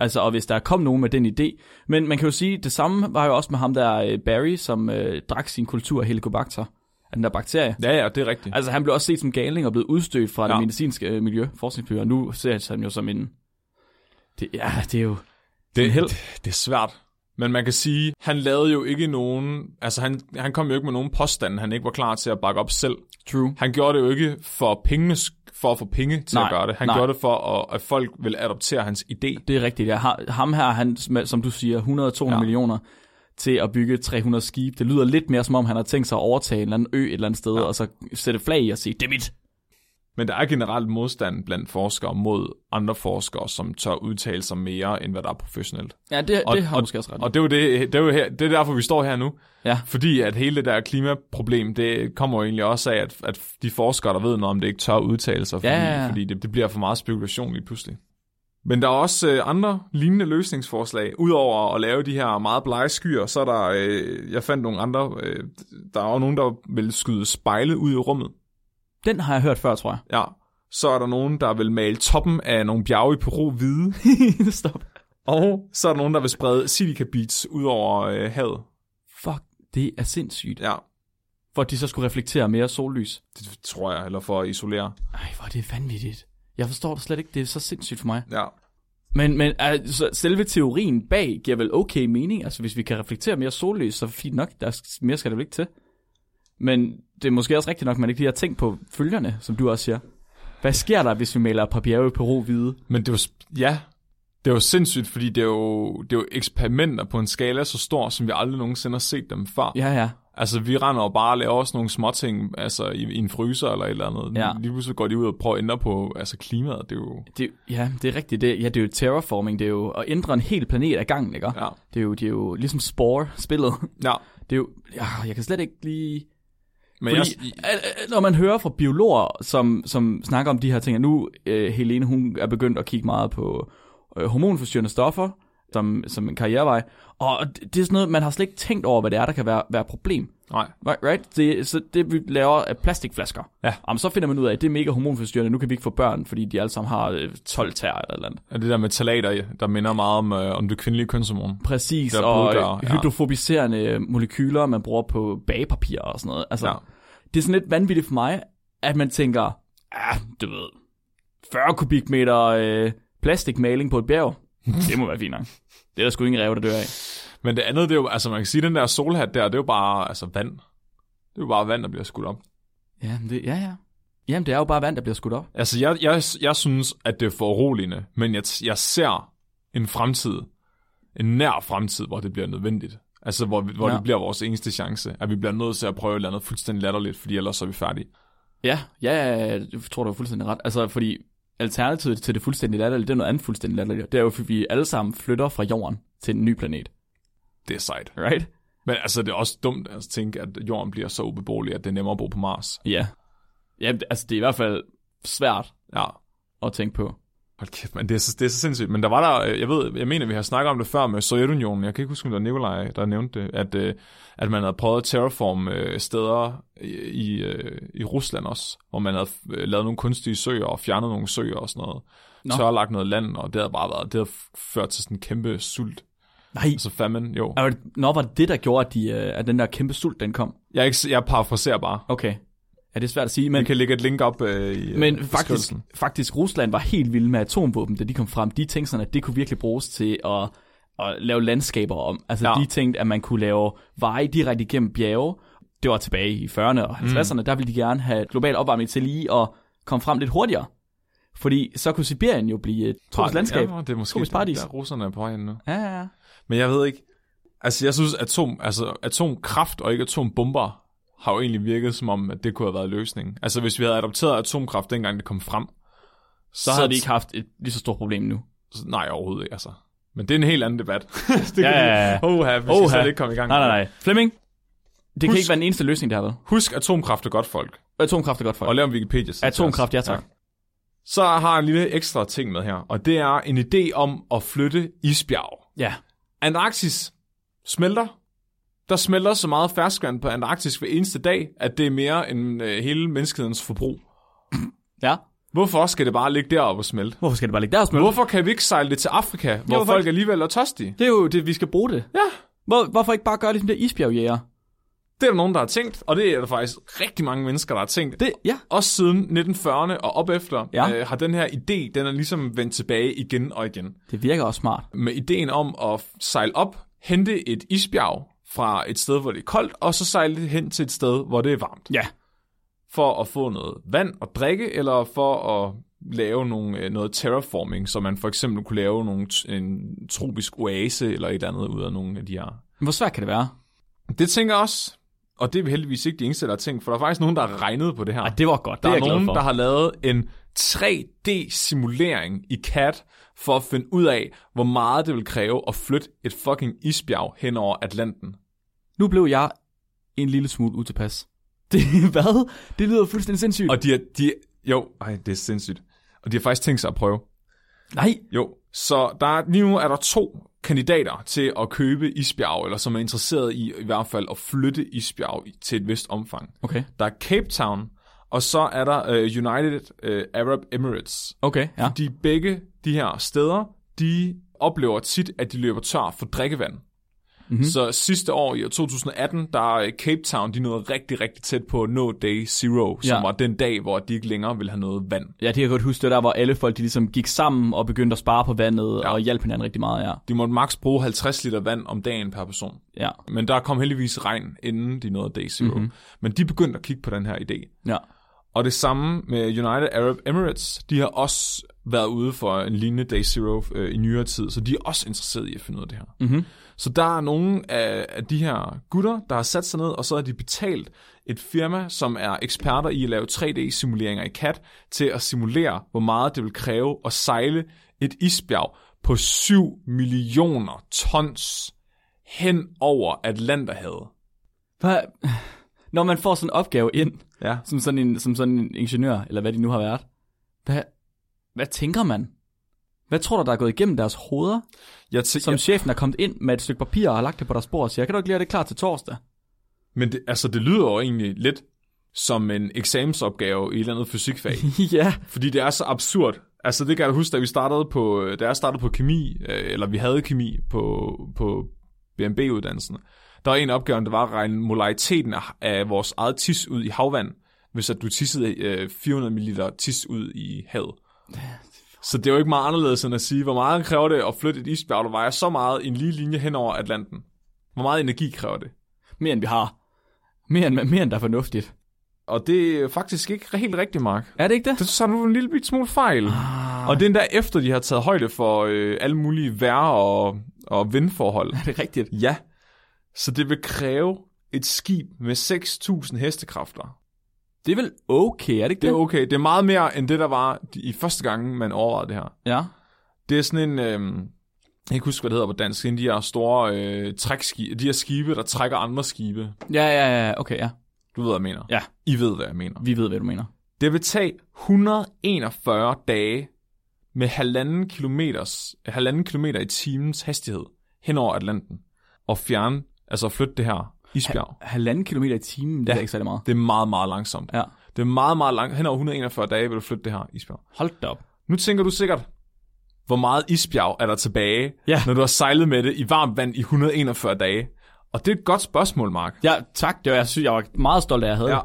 [SPEAKER 1] Altså, og hvis der kom nogen med den idé. Men man kan jo sige, det samme var jo også med ham der øh, Barry, som øh, drak sin kultur af helicobacter, af den der bakterie.
[SPEAKER 2] Ja, ja, det er rigtigt.
[SPEAKER 1] Altså, han blev også set som galing og blevet udstødt fra ja.
[SPEAKER 2] Ja.
[SPEAKER 1] det medicinske øh, miljø, forskningsmiljø, og nu ser han jo som en... Det, ja, det er jo...
[SPEAKER 2] Det,
[SPEAKER 1] en held.
[SPEAKER 2] det, det er svært. Men man kan sige, han lavede jo ikke nogen... Altså, han, han kom jo ikke med nogen påstande, han ikke var klar til at bakke op selv.
[SPEAKER 1] True.
[SPEAKER 2] Han gjorde det jo ikke for, pengenes, for at få penge til
[SPEAKER 1] Nej,
[SPEAKER 2] at gøre det. Han
[SPEAKER 1] nej.
[SPEAKER 2] gjorde det for, at, at folk ville adoptere hans idé.
[SPEAKER 1] Det er rigtigt, ja. Har- Ham her, han, sm- som du siger, 100-200 ja.
[SPEAKER 2] Ja.
[SPEAKER 1] millioner til at bygge 300 skibe. Det lyder lidt mere som om, han har tænkt sig at overtage en eller anden ø et eller andet sted, ja. og så sætte flag i og sige, det er mit.
[SPEAKER 2] Men der er generelt modstand blandt forskere mod andre forskere, som tør udtale sig mere, end hvad der er professionelt.
[SPEAKER 1] Ja, det,
[SPEAKER 2] Og-
[SPEAKER 1] det har og, måske også ret. i.
[SPEAKER 2] Og det er jo, det, det er jo her, det er derfor, vi står her nu.
[SPEAKER 1] Ja.
[SPEAKER 2] Fordi at hele det der klimaproblem, det kommer jo egentlig også af, at, at de forskere, der ved noget om det, ikke tør udtale sig, fordi,
[SPEAKER 1] Ja, ja, ja.
[SPEAKER 2] fordi det, det bliver for meget spekulation lige pludselig. Men der er også øh, andre lignende løsningsforslag. Udover at lave de her meget blege skyer, så er der, øh, jeg fandt nogle andre, øh, der er jo nogen, der vil skyde spejle ud i rummet.
[SPEAKER 1] Den har jeg hørt før, tror jeg.
[SPEAKER 2] Ja. Så er der nogen, der vil male toppen af nogle bjerge i Peru
[SPEAKER 1] <laughs>
[SPEAKER 2] hvide.
[SPEAKER 1] <laughs> Stop.
[SPEAKER 2] Og så er der nogen, der vil sprede silica beads ud over øh, havet.
[SPEAKER 1] Fuck, det er sindssygt.
[SPEAKER 2] Ja,
[SPEAKER 1] For at de så skulle reflektere mere sollys.
[SPEAKER 2] det tror jeg, eller for at isolere.
[SPEAKER 1] Ej, hvor er det vanvittigt. Jeg forstår det slet ikke. Det er så sindssygt for mig.
[SPEAKER 2] Ja.
[SPEAKER 1] Men, men altså, selve teorien bag giver vel okay mening. Altså, hvis vi kan reflektere mere sollys, så fint nok. Der er, mere skal der vel ikke til. Men det er måske også rigtigt nok, at man ikke lige har tænkt på følgerne, som du også siger. Hvad sker der, hvis vi maler et par bjerge i Peru hvide?
[SPEAKER 2] Men det var, ja, det var sindssygt, fordi det er, jo, det er jo eksperimenter på en skala så stor, som vi aldrig nogensinde har set dem før.
[SPEAKER 1] Ja, ja.
[SPEAKER 2] Altså, vi render og bare og laver også nogle småting altså, i, i en fryser eller et eller andet.
[SPEAKER 1] Ja.
[SPEAKER 2] Lige pludselig går de ud og prøver at ændre på altså, klimaet. Det er jo...
[SPEAKER 1] Det, ja, det er rigtigt. Det, ja, det er jo terraforming. Det er jo at ændre en hel planet af gangen, ikke?
[SPEAKER 2] Ja.
[SPEAKER 1] Det er jo, det er jo ligesom Spore-spillet.
[SPEAKER 2] ja.
[SPEAKER 1] Det er jo... Ja, jeg kan slet ikke lige...
[SPEAKER 2] Men
[SPEAKER 1] Fordi,
[SPEAKER 2] jeg,
[SPEAKER 1] øh, øh, når man hører fra biologer, som, som snakker om de her ting, og nu øh, Helene hun er begyndt at kigge meget på øh, hormonforstyrrende stoffer som, som en karrierevej, og det, det er sådan noget, man har slet ikke tænkt over, hvad det er, der kan være, være et problem.
[SPEAKER 2] nej.
[SPEAKER 1] Right? right? Det, så det vi laver af plastikflasker.
[SPEAKER 2] Ja.
[SPEAKER 1] Jamen, så finder man ud af, at det er mega hormonforstyrrende, nu kan vi ikke få børn, fordi de alle sammen har øh, 12 tær eller et eller andet.
[SPEAKER 2] Og det der med talater, der minder meget om, øh, om det kvindelige kønshormon.
[SPEAKER 1] Præcis,
[SPEAKER 2] Der er
[SPEAKER 1] og
[SPEAKER 2] blodkar,
[SPEAKER 1] øh,
[SPEAKER 2] ja.
[SPEAKER 1] hydrofobiserende molekyler, man bruger på bagepapir og sådan noget. Altså,
[SPEAKER 2] Ja.
[SPEAKER 1] det er sådan lidt vanvittigt for mig, at man tænker, ah, du ved, 40 kubikmeter øh, plastikmaling på et <laughs> bjerg, det må være fint nok. Det er der sgu ingen ræve, der dør af.
[SPEAKER 2] Men det andet, det er jo, altså man kan sige, den der solhat der, det er jo bare altså, vand. Det er jo bare vand, der bliver skudt op.
[SPEAKER 1] Ja, men det, ja, ja. Jamen, det er jo bare vand, der bliver skudt op.
[SPEAKER 2] Altså, jeg, jeg, jeg synes, at det er foruroligende, men jeg, jeg ser en fremtid, en nær fremtid, hvor det bliver nødvendigt. Altså, hvor, vi- hvor
[SPEAKER 1] Ja.
[SPEAKER 2] ja. det bliver vores eneste chance, at vi bliver nødt til at prøve et eller andet fuldstændig latterligt, fordi ellers er vi færdige.
[SPEAKER 1] Ja, ja, ja, jeg tror, du har fuldstændig ret. Altså, fordi alternativet til det fuldstændig latterlige, det er noget andet fuldstændig latterligt. Det er jo, fordi vi alle sammen flytter fra jorden til en ny planet,
[SPEAKER 2] Det er sejt.
[SPEAKER 1] right?
[SPEAKER 2] Men altså, det er også dumt at tænke, at jorden bliver så ubeboelig, at det er nemmere at bo på Mars.
[SPEAKER 1] Ja. Ja, altså, det er i hvert fald svært
[SPEAKER 2] Ja.
[SPEAKER 1] at tænke på.
[SPEAKER 2] Hold kæft, man, det er, så, det er så sindssygt. Men der var der, øh, jeg ved, jeg mener, vi har snakket om det før med Sovjetunionen. Jeg kan ikke huske, om det var Nikolaj, der nævnte det, at, øh, at man havde prøvet at terraforme øh, steder i, i, øh, i Rusland også, hvor man havde øh, lavet nogle kunstige søer og fjernet nogle søer og sådan noget.
[SPEAKER 1] Nå.
[SPEAKER 2] Nå. Tørlagt noget land, og det havde bare været, det havde f- ført til sådan en kæmpe sult.
[SPEAKER 1] Nej,
[SPEAKER 2] Altså famine, jo.
[SPEAKER 1] Og Nå, var det det, der gjorde, at, de, øh, at den der kæmpe sult, den kom?
[SPEAKER 2] Jeg, er ikke, s- jeg parafraserer bare.
[SPEAKER 1] Okay. Ja, det er svært at sige, men,
[SPEAKER 2] Vi kan lægge et link op øh, i øh,
[SPEAKER 1] men faktisk,
[SPEAKER 2] beskrivelsen.
[SPEAKER 1] faktisk Rusland var helt vild med atomvåben, da de kom frem. De tænkte sådan, at det kunne virkelig bruges til at, at lave landskaber om. Altså, ja.
[SPEAKER 2] Ja.
[SPEAKER 1] de tænkte, at man kunne lave veje direkte igennem bjerge. Det var tilbage i 40'erne og 50'erne. Mm. Der ville de gerne have global opvarmning til lige at komme frem lidt hurtigere. Fordi så kunne Sibirien jo blive et tropisk landskab.
[SPEAKER 2] Ja, det er måske
[SPEAKER 1] Tropisk paradis.
[SPEAKER 2] der, russerne er på vej hen nu.
[SPEAKER 1] Ja, ja, ja.
[SPEAKER 2] Men jeg ved ikke. Altså, jeg synes, atom, altså, atomkraft og ikke atombomber har jo egentlig virket som om, at det kunne have været løsningen. Altså, hvis vi havde adopteret atomkraft, dengang det kom frem,
[SPEAKER 1] Så havde de ikke haft et lige så stort problem nu.
[SPEAKER 2] Nej, overhovedet ikke, altså. Men det er en helt anden debat. <laughs> det kan
[SPEAKER 1] Ja, ja, ja.
[SPEAKER 2] vi- Oha, vi skal
[SPEAKER 1] Oha.
[SPEAKER 2] slet ikke komme i gang.
[SPEAKER 1] Nej, nej, nej. Flemming, det kan
[SPEAKER 2] Husk-
[SPEAKER 1] ikke være den eneste løsning, der har været.
[SPEAKER 2] Husk, atomkraft er godt, folk.
[SPEAKER 1] Atomkraft er godt for
[SPEAKER 2] Og lav en wikipedia side
[SPEAKER 1] Atomkraft, ja tak.
[SPEAKER 2] Så har jeg en lille ekstra ting med her, og det er en idé om at flytte isbjerg.
[SPEAKER 1] Ja.
[SPEAKER 2] Antarktis smelter. Der smelter så meget ferskvand på Antarktis hver eneste dag, at det er mere end øh, hele menneskehedens forbrug.
[SPEAKER 1] Ja.
[SPEAKER 2] Hvorfor skal det bare ligge deroppe og smelte?
[SPEAKER 1] Hvorfor skal det bare ligge der og smelte?
[SPEAKER 2] Hvorfor kan vi ikke sejle det til Afrika, hvor
[SPEAKER 1] Jo,
[SPEAKER 2] jo,
[SPEAKER 1] folk-
[SPEAKER 2] folk alligevel er tørstige?
[SPEAKER 1] Det er jo det, vi skal bruge det.
[SPEAKER 2] Ja,
[SPEAKER 1] Hvor, hvorfor ikke bare gøre det som der isbjergjæger?
[SPEAKER 2] det er der nogen, der har tænkt, og det er der faktisk rigtig mange mennesker, der har tænkt.
[SPEAKER 1] Det, ja.
[SPEAKER 2] Også siden 1940'erne og op efter
[SPEAKER 1] Ja.
[SPEAKER 2] ja. øh, har den her idé, den er ligesom vendt tilbage igen og igen.
[SPEAKER 1] Det virker også smart.
[SPEAKER 2] Med ideen om at sejle op, hente et isbjerg fra et sted, hvor det er koldt, og så sejle det hen til et sted, hvor det er varmt.
[SPEAKER 1] Ja.
[SPEAKER 2] For at få noget vand at drikke, eller for at lave nogle, øh, noget terraforming, så man for eksempel kunne lave nogle, en tropisk oase eller et eller andet ud af nogle af de her
[SPEAKER 1] Hvor svært kan det være?
[SPEAKER 2] Det tænker jeg også, og det er vi heldigvis ikke de eneste, der har tænkt, for der er faktisk nogen, der har regnet på det her.
[SPEAKER 1] Ej, det var godt.
[SPEAKER 2] der
[SPEAKER 1] det
[SPEAKER 2] er,
[SPEAKER 1] er, jeg
[SPEAKER 2] nogen,
[SPEAKER 1] glad for.
[SPEAKER 2] der har lavet en 3D-simulering i CAD for at finde ud af, hvor meget det vil kræve at flytte et fucking isbjerg hen over Atlanten.
[SPEAKER 1] Nu blev jeg en lille smule utilpas. <laughs> Det, hvad? Det lyder fuldstændig sindssygt. Og...
[SPEAKER 2] Og de, er- de er- jo, ej, det er sindssygt. Og de har faktisk tænkt sig at prøve.
[SPEAKER 1] Nej,
[SPEAKER 2] Jo, så der er, lige nu er der to kandidater til at købe isbjerg, eller som er interesseret i i hvert fald at flytte isbjerg i- til et vist omfang.
[SPEAKER 1] Okay.
[SPEAKER 2] Der er Cape Town, og så er der øh, United øh, Arab Emirates.
[SPEAKER 1] okay, ja.
[SPEAKER 2] De begge de her steder, de oplever tit, at de løber tør for drikkevand. Mm-hmm. Så sidste år i år 2018, der øh, Cape Town, de nåede rigtig, rigtig tæt på No Day Zero, som
[SPEAKER 1] Ja.
[SPEAKER 2] var den dag, hvor de ikke længere ville have noget vand.
[SPEAKER 1] Ja, det kan jeg godt huske, det var der, hvor alle folk de ligesom gik sammen og begyndte at spare på vandet ja. og hjalp hinanden rigtig meget, ja.
[SPEAKER 2] De måtte maks bruge 50 liter vand om dagen per person.
[SPEAKER 1] Ja,
[SPEAKER 2] Men der kom heldigvis regn, inden de nåede Day Zero. Mm-hmm. Men de begyndte at kigge på den her idé.
[SPEAKER 1] ja.
[SPEAKER 2] Og det samme med United Arab Emirates. De har også været ude for en lignende Day Zero øh, i nyere tid, så de er også interesseret i at finde ud af det her. Mm-hmm. Så der er nogle af, af de her gutter, der har sat sig ned, og så har de betalt et firma, som er eksperter i at lave 3D-simuleringer i CAD, til at simulere, hvor meget det vil kræve at sejle et isbjerg på 7 millioner tons hen over Atlanterhavet.
[SPEAKER 1] Hvad? <sighs> Når man får sådan en opgave ind,
[SPEAKER 2] Ja.
[SPEAKER 1] som sådan en, som sådan en ingeniør, eller hvad de nu har været, hvad, hvad tænker man? Hvad tror du, der er gået igennem deres hoveder,
[SPEAKER 2] Jeg tæ-
[SPEAKER 1] som chefen er kommet ind med et stykke papir og har lagt det på deres bord og siger, kan du ikke lige have det klar til torsdag? <laughs>
[SPEAKER 2] Men det, altså, det lyder jo egentlig lidt som en eksamensopgave i et eller andet fysikfag.
[SPEAKER 1] ja,
[SPEAKER 2] fordi det er så absurd. Altså, det kan jeg da huske, da vi startede på, da jeg startede på kemi, øh, eller vi havde kemi på, på BMB-uddannelsen. Der var en opgave, der var at regne molariteten af- af vores eget tis ud i havvand, hvis at du tissede øh, 400 ml tis ud i havet. Så det er jo ikke meget anderledes end at sige, hvor meget kræver det at flytte et isbjerg, der vejer så meget i en lige linje hen over Atlanten? Hvor meget energi kræver det?
[SPEAKER 1] mere end vi har. Mere end, mere end der er fornuftigt.
[SPEAKER 2] Og det er faktisk ikke helt rigtigt, Mark.
[SPEAKER 1] Er det ikke det?
[SPEAKER 2] Det så du en lille bit smule fejl. Ah. Og det er endda efter, de har taget højde for øh, alle mulige vejr- og, og vindforhold.
[SPEAKER 1] Er det rigtigt?
[SPEAKER 2] ja. Så det vil kræve et skib med 6.000 hestekræfter.
[SPEAKER 1] Det er vel okay, er det ikke
[SPEAKER 2] Det
[SPEAKER 1] det?
[SPEAKER 2] er okay. Det er meget mere end det, der var de- i første gang, man overvejede det her.
[SPEAKER 1] Ja.
[SPEAKER 2] Det er sådan en... Øh, jeg kan ikke huske, hvad det hedder på dansk. Det er de her store øh, trækskibe, de her skibe, der trækker andre skibe.
[SPEAKER 1] Ja, ja, ja, okay, ja.
[SPEAKER 2] Du ved, hvad jeg mener.
[SPEAKER 1] Ja.
[SPEAKER 2] I ved, hvad jeg mener.
[SPEAKER 1] Vi ved, hvad du mener.
[SPEAKER 2] Det vil tage 141 dage med halvanden, kilometers, halvanden kilometer i timens hastighed hen over Atlanten og fjerne, altså flytte det her isbjerg.
[SPEAKER 1] Halvanden kilometer i timen, det ja. er ikke særlig meget.
[SPEAKER 2] Det er meget, meget langsomt.
[SPEAKER 1] Ja.
[SPEAKER 2] Det er meget, meget langt. Hen over 141 dage vil du flytte det her isbjerg.
[SPEAKER 1] Hold da op.
[SPEAKER 2] Nu tænker du sikkert, hvor meget isbjerg er der tilbage,
[SPEAKER 1] Ja.
[SPEAKER 2] når du har sejlet med det i varmt vand i 141 dage? Og det er et godt spørgsmål, Mark.
[SPEAKER 1] Ja, tak. Det var, jeg synes, jeg var meget stolt af, at jeg havde.
[SPEAKER 2] Ja.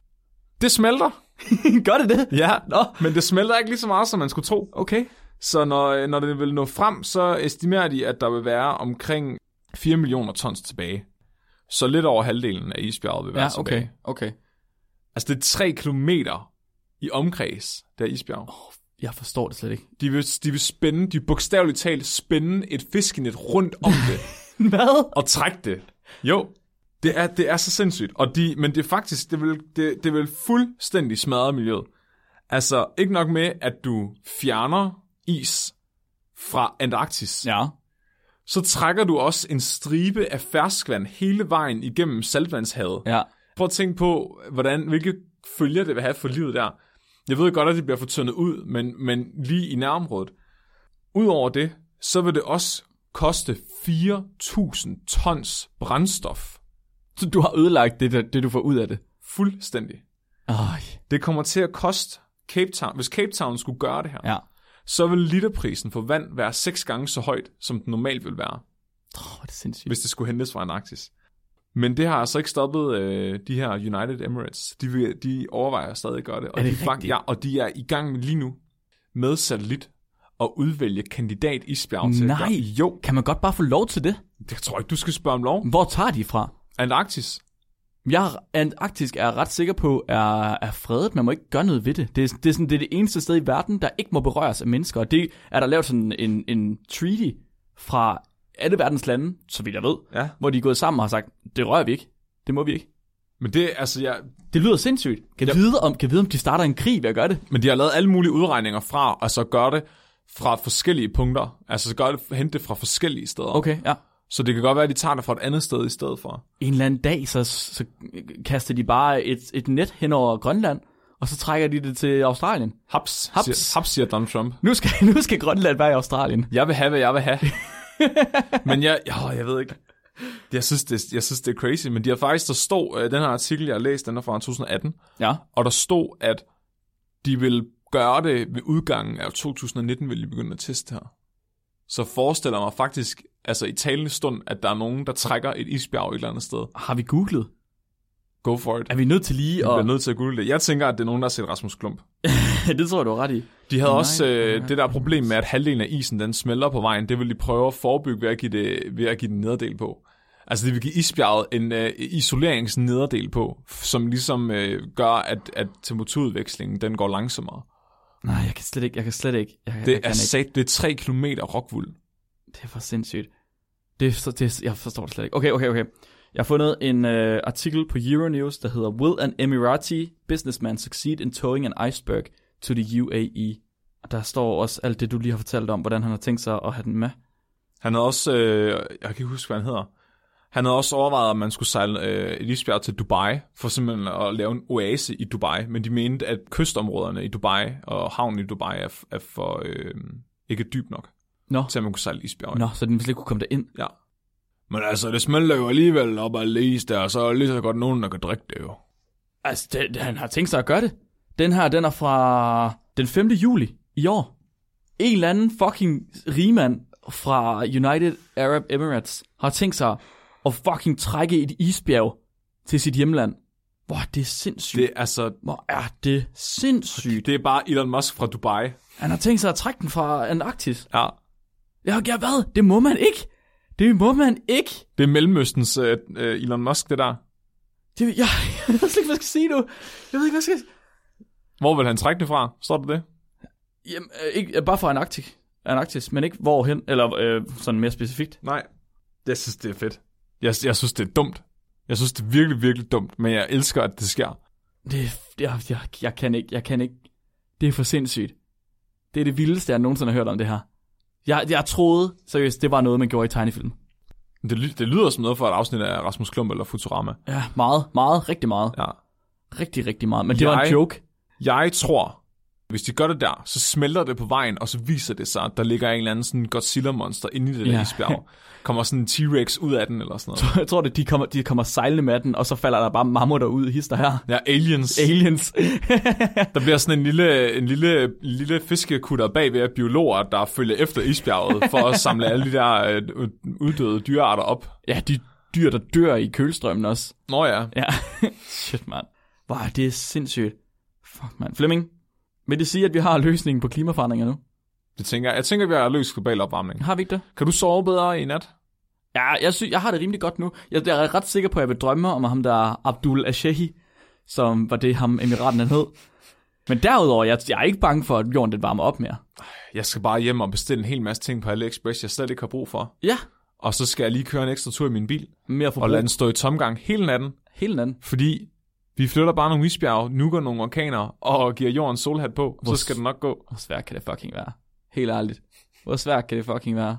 [SPEAKER 2] Det smelter.
[SPEAKER 1] <laughs> Gør det det?
[SPEAKER 2] Ja,
[SPEAKER 1] Nå.
[SPEAKER 2] men det smelter ikke lige så meget, som man skulle tro.
[SPEAKER 1] Okay.
[SPEAKER 2] Så når, når det vil nå frem, så estimerer de, at der vil være omkring 4 millioner tons tilbage. Så lidt over halvdelen af isbjerget vil være
[SPEAKER 1] Ja, okay.
[SPEAKER 2] tilbage.
[SPEAKER 1] Okay.
[SPEAKER 2] Altså det er 3 kilometer i omkreds, der isbjerg.
[SPEAKER 1] Jeg forstår det slet ikke.
[SPEAKER 2] De vil, de vil spænde, de vil bogstaveligt talt spænde et fiskenet rundt om
[SPEAKER 1] <laughs>
[SPEAKER 2] det
[SPEAKER 1] <laughs> Hvad?
[SPEAKER 2] og trække det. Jo, det er, det er så sindssygt. Og de, men det er faktisk, det vil, det, det vil fuldstændig smadre miljøet. Altså ikke nok med, at du fjerner is fra Antarktis.
[SPEAKER 1] Ja.
[SPEAKER 2] så trækker du også en stribe af ferskvand hele vejen igennem saltvandshavet.
[SPEAKER 1] Ja.
[SPEAKER 2] Prøv at tænke på, hvordan, hvilke følger det vil have for livet der. Jeg ved godt, at det bliver fortyndet ud, men, men lige i nærområdet. Udover det, så vil det også koste 4.000 tons brændstof
[SPEAKER 1] Så du har ødelagt det, der, det du får ud af det.
[SPEAKER 2] Fuldstændig.
[SPEAKER 1] Ej,
[SPEAKER 2] Det kommer til at koste Cape Town, hvis Cape Town skulle gøre det her,
[SPEAKER 1] ja.
[SPEAKER 2] så vil literprisen for vand være seks gange så højt, som den normalt vil være,
[SPEAKER 1] Oh, det er sindssygt.
[SPEAKER 2] hvis det skulle hentes fra Antarktis. Men det har altså ikke stoppet øh, de her United Emirates. De, vil, de overvejer stadig at gøre det. Og,
[SPEAKER 1] Er det
[SPEAKER 2] de fang-
[SPEAKER 1] rigtigt?
[SPEAKER 2] ja, og de er i gang lige nu med satellit at udvælge kandidat isbjerg til. at
[SPEAKER 1] Nej,
[SPEAKER 2] gøre-
[SPEAKER 1] jo. Kan man godt bare få lov til det?
[SPEAKER 2] Jeg tror ikke, du skal spørge om lov.
[SPEAKER 1] Hvor tager de fra?
[SPEAKER 2] Antarktis.
[SPEAKER 1] Jeg er- Antarktisk er jeg ret sikker på, er, er fredet. Man må ikke gøre noget ved det. Det er, det, er sådan, det er det eneste sted i verden, der ikke må berøres af mennesker. Og det er der lavet sådan en, en treaty fra alle verdens lande, så vidt jeg ved,
[SPEAKER 2] Ja.
[SPEAKER 1] hvor de er gået sammen og har sagt, det rører vi ikke. Det må vi ikke.
[SPEAKER 2] Men det, altså, jeg,
[SPEAKER 1] Det lyder sindssygt. Kan, vide, om, kan vide, om de starter en krig ved at gøre det?
[SPEAKER 2] Men de har lavet alle mulige udregninger fra, og så gør det fra forskellige punkter. Altså så gør det, hente det fra forskellige steder.
[SPEAKER 1] Okay, ja.
[SPEAKER 2] Så det kan godt være, at de tager det fra et andet sted i stedet for.
[SPEAKER 1] En eller anden dag, så, så kaster de bare et, et net hen over Grønland, og så trækker de det til Australien.
[SPEAKER 2] Haps,
[SPEAKER 1] Haps.
[SPEAKER 2] Siger, haps siger Donald Trump.
[SPEAKER 1] Nu skal, <laughs> nu skal Grønland være i Australien.
[SPEAKER 2] Jeg vil have, hvad jeg vil have. <laughs> men jeg, jo, jeg ved ikke. Jeg synes, det, jeg synes, det er crazy, men de har faktisk, der stod, øh, den her artikel, jeg har læst, den er fra 2018,
[SPEAKER 1] Ja.
[SPEAKER 2] og der stod, at de vil gøre det ved udgangen af 2019, vil de begynde at teste her. Så forestiller jeg mig faktisk, altså i talende stund, at der er nogen, der trækker et isbjerg et eller andet sted.
[SPEAKER 1] Har vi googlet?
[SPEAKER 2] Go for it.
[SPEAKER 1] Er vi nødt til lige
[SPEAKER 2] Jeg bliver
[SPEAKER 1] at...
[SPEAKER 2] nødt til at google det. Jeg tænker, at det er nogen, der har set Rasmus Klump.
[SPEAKER 1] <laughs> det tror jeg, du har ret i.
[SPEAKER 2] De havde
[SPEAKER 1] Nej,
[SPEAKER 2] også øh,
[SPEAKER 1] nej.
[SPEAKER 2] det der problem med, at halvdelen af isen den smelter på vejen. Det vil de prøve at forebygge ved at give, det, ved at give den nederdel på. Altså, de vil give isbjerget en øh, isoleringsnederdel på, f- som ligesom øh, gør, at, at temperaturudvekslingen den går langsommere.
[SPEAKER 1] Nej, jeg kan slet ikke. Jeg kan slet ikke. Jeg, jeg
[SPEAKER 2] Det
[SPEAKER 1] kan
[SPEAKER 2] er,
[SPEAKER 1] ikke.
[SPEAKER 2] sat, det er 3 km rockwool.
[SPEAKER 1] Det er for sindssygt. Det er, så- det er, jeg forstår det slet ikke. Okay, okay, okay. Jeg har fundet en øh, artikel på Euronews, der hedder Will an Emirati businessman succeed in towing an iceberg to the UAE? Og der står også alt det, du lige har fortalt om, hvordan han har tænkt sig at have den med.
[SPEAKER 2] Han havde også, øh, jeg kan ikke huske, hvad han hedder. Han havde også overvejet, at man skulle sejle øh, et isbjerg til Dubai, for simpelthen at lave en oase i Dubai. Men de mente, at kystområderne i Dubai og havnen i Dubai er, f- er for øh, ikke dyb nok,
[SPEAKER 1] Nå.
[SPEAKER 2] til at man kunne sejle isbjerg.
[SPEAKER 1] Nå, så den slet ikke kunne komme derind.
[SPEAKER 2] Ja. Men altså, det smelter jo alligevel op af is der, og så er lige så godt nogen, der kan drikke det jo.
[SPEAKER 1] Altså, det, det- han har tænkt sig at gøre det. Den her, den er fra den 5. juli i år. En eller anden fucking rigmand fra United Arab Emirates har tænkt sig at fucking trække et isbjerg til sit hjemland. Hvor er det er sindssygt.
[SPEAKER 2] Det
[SPEAKER 1] Det...
[SPEAKER 2] er altså,
[SPEAKER 1] Hvor er det sindssygt.
[SPEAKER 2] det er bare Elon Musk fra Dubai.
[SPEAKER 1] Han har tænkt sig at trække den fra Antarktis.
[SPEAKER 2] Ja.
[SPEAKER 1] Ja, ja hvad? Det må man ikke. Det må man ikke.
[SPEAKER 2] Det er Mellemøstens øh, øh, Elon Musk, det der.
[SPEAKER 1] Det, jeg, <laughs> jeg ved slet ikke, hvad jeg skal sige nu. Jeg ved ikke, hvad jeg skal
[SPEAKER 2] Hvor vil han trække det fra? Står der det?
[SPEAKER 1] Jamen, øh, ikke, øh, bare fra Antarktis. Antarktis, men ikke hvorhen, eller øh, sådan mere specifikt.
[SPEAKER 2] Nej. Jeg synes, det er fedt. Jeg, jeg synes, det er dumt. Jeg synes, det er virkelig, virkelig dumt, men jeg elsker, at det sker.
[SPEAKER 1] Det, det jeg, jeg, jeg kan ikke, jeg kan ikke. Det er for sindssygt. Det er det vildeste, jeg nogensinde har hørt om det her. Jeg, jeg troede, seriøst, det var noget, man gjorde i tegnefilm.
[SPEAKER 2] Det, ly- det lyder som noget for et afsnit af Rasmus Klump eller Futurama.
[SPEAKER 1] Ja, meget, meget, rigtig meget.
[SPEAKER 2] Ja.
[SPEAKER 1] Rigtig, rigtig meget. Men det var
[SPEAKER 2] Jeg-
[SPEAKER 1] en joke. <laughs>
[SPEAKER 2] Jeg tror, hvis de gør det der, så smelter det på vejen, og så viser det sig, at der ligger en eller anden sådan Godzilla-monster inde i det der
[SPEAKER 1] Ja.
[SPEAKER 2] ja. isbjerg. Kommer sådan en T-Rex ud af den eller sådan noget.
[SPEAKER 1] Jeg tror, det, de kommer, de kommer sejlende med den, og så falder der bare mammutter ud, hister her.
[SPEAKER 2] Ja, aliens.
[SPEAKER 1] Aliens. <laughs>
[SPEAKER 2] Der bliver sådan en lille, en lille, lille fiskekutter bagved af biologer, der følger efter isbjerget for at samle alle de der øh, uddøde dyrearter op.
[SPEAKER 1] ja, de dyr, der dør i kølstrømmen også.
[SPEAKER 2] Nå ja,
[SPEAKER 1] Ja, <laughs> shit mand. Wow, det er sindssygt. Fuck mand. Flemming, vil det sige, at vi har løsningen på klimaforandringer nu?
[SPEAKER 2] Det tænker jeg. Jeg tænker, vi har løst global opvarmning.
[SPEAKER 1] Har vi ikke det?
[SPEAKER 2] Kan du sove bedre i nat?
[SPEAKER 1] Ja, jeg, sy- jeg har det rimelig godt nu. Jeg, jeg er ret sikker på, at jeg vil drømme om ham der Abdul Ashehi, som var det ham emiraten han hed. Men derudover, jeg, jeg er ikke bange for, at jorden den varmer op mere.
[SPEAKER 2] Jeg skal bare hjem og bestille en hel masse ting på AliExpress, jeg slet ikke har brug for.
[SPEAKER 1] Ja,
[SPEAKER 2] Og så skal jeg lige køre en ekstra tur i min bil,
[SPEAKER 1] mere
[SPEAKER 2] og
[SPEAKER 1] forbrug.
[SPEAKER 2] lade den stå i tomgang hele natten,
[SPEAKER 1] Helt en anden.
[SPEAKER 2] fordi vi flytter bare nogle isbjerge, nukker nogle orkaner, og giver jorden solhat på, så skal det nok gå.
[SPEAKER 1] Hvor svært kan det fucking være? Helt ærligt. Hvor svært kan det fucking være?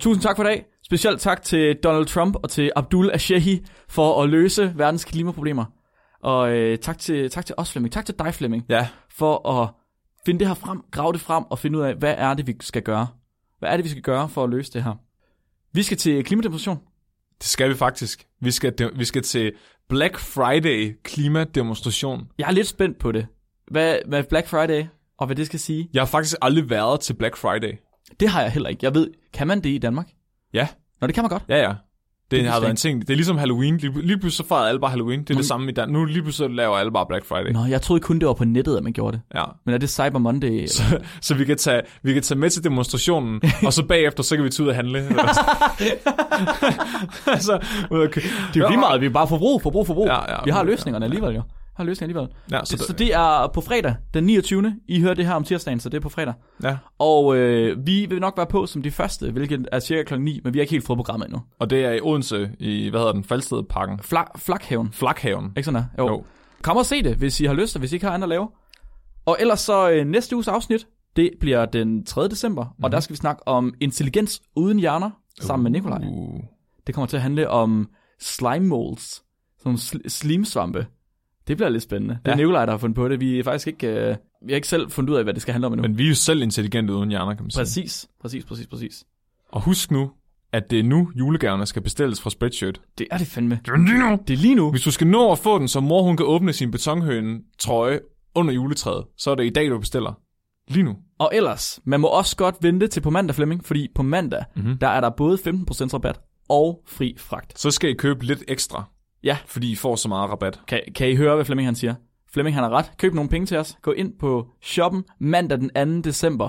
[SPEAKER 1] Tusind tak for i dag. Specielt tak til Donald Trump og til Abdul Ashehi for at løse verdens klimaproblemer. Og øh, tak, til, tak til os, Flemming. Tak til dig, Flemming,
[SPEAKER 2] Ja,
[SPEAKER 1] for at finde det her frem, grave det frem og finde ud af, hvad er det, vi skal gøre? Hvad er det, vi skal gøre for at løse det her? Vi skal til klimademonstration.
[SPEAKER 2] Det skal vi faktisk. Vi skal, de- vi skal til Black Friday klimademonstration.
[SPEAKER 1] Jeg er lidt spændt på det. Hvad, hvad Black Friday og hvad det skal sige.
[SPEAKER 2] Jeg har faktisk aldrig været til Black Friday.
[SPEAKER 1] Det har jeg heller ikke. Jeg ved, kan man det i Danmark?
[SPEAKER 2] Ja,
[SPEAKER 1] Nå, det kan man godt.
[SPEAKER 2] ja, ja. Det, det har
[SPEAKER 1] fuldstændig-
[SPEAKER 2] været en ting. Det er ligesom Halloween. Lige, pl- lige pludselig så fejrer alle bare Halloween. Det er det samme i Dan. Nu lige pludselig så laver alle bare Black Friday.
[SPEAKER 1] Nå, jeg troede kun, det var på nettet, at man gjorde det.
[SPEAKER 2] Ja.
[SPEAKER 1] Men er det Cyber
[SPEAKER 2] <laughs>
[SPEAKER 1] Monday? Eller?
[SPEAKER 2] Så, så vi, kan tage, vi kan tage med
[SPEAKER 1] <laughs>
[SPEAKER 2] til demonstrationen, og så bagefter, så kan vi tage ud og handle. Eller sådan. så, ud og kø-
[SPEAKER 1] Det er jo lige meget, vi er bare forbrug, forbrug, forbrug.
[SPEAKER 2] Ja, ja.
[SPEAKER 1] vi har løsningerne alligevel jo. Vi Har løsninger alligevel.
[SPEAKER 2] Ja, så
[SPEAKER 1] så, det,
[SPEAKER 2] det-
[SPEAKER 1] så det er på fredag, den 29. I hører det her om tirsdagen, så det er på fredag.
[SPEAKER 2] <laughs> Ja.
[SPEAKER 1] Og øh, vi vil nok være på som de første, hvilket er cirka klokken 9, men vi har ikke helt fået programmet endnu.
[SPEAKER 2] Og det er i Odense, i, hvad hedder den, Falstedparken.
[SPEAKER 1] Fla- Flakhaven,
[SPEAKER 2] Flakhaven.
[SPEAKER 1] ikke sådan her? Jo. jo.
[SPEAKER 2] Jo.
[SPEAKER 1] Kom og se det, hvis I har lyst, og hvis I ikke har andet at lave. Og ellers så øh, næste uges afsnit, det bliver den 3. december, mm-hmm. og der skal vi snakke om intelligens uden hjerner, sammen med Nikolaj.
[SPEAKER 2] Mhm. Uh.
[SPEAKER 1] Det kommer til at handle om slime molds, som sl- slimsvampe. Det bliver lidt spændende. Det er
[SPEAKER 2] Ja.
[SPEAKER 1] Nikolaj, der har fundet på det. Vi er faktisk ikke, øh, vi har ikke selv fundet ud af, hvad det skal handle om endnu. Men,
[SPEAKER 2] Men vi er jo selv intelligente uden hjerner, kan man sige.
[SPEAKER 1] præcis, præcis, præcis, præcis.
[SPEAKER 2] Og husk nu, at det er nu, julegaverne skal bestilles fra Spreadshirt.
[SPEAKER 1] Det er det fandme.
[SPEAKER 2] Lige nu.
[SPEAKER 1] Det er lige nu.
[SPEAKER 2] Hvis du skal nå at få den, så mor hun kan åbne sin betonhøne trøje under juletræet, så er det i dag, du bestiller. Lige nu.
[SPEAKER 1] Og ellers, man må også godt vente til på mandag, Flemming, fordi på mandag,
[SPEAKER 2] Mhm.
[SPEAKER 1] mm-hmm. der er der både 15% rabat og fri fragt.
[SPEAKER 2] Så skal I købe lidt ekstra.
[SPEAKER 1] Ja.
[SPEAKER 2] Fordi I får så meget rabat.
[SPEAKER 1] Kan, kan I høre, hvad Flemming han siger? Flemming han har ret. Køb nogle penge til os. Gå ind på shoppen mandag den 2. december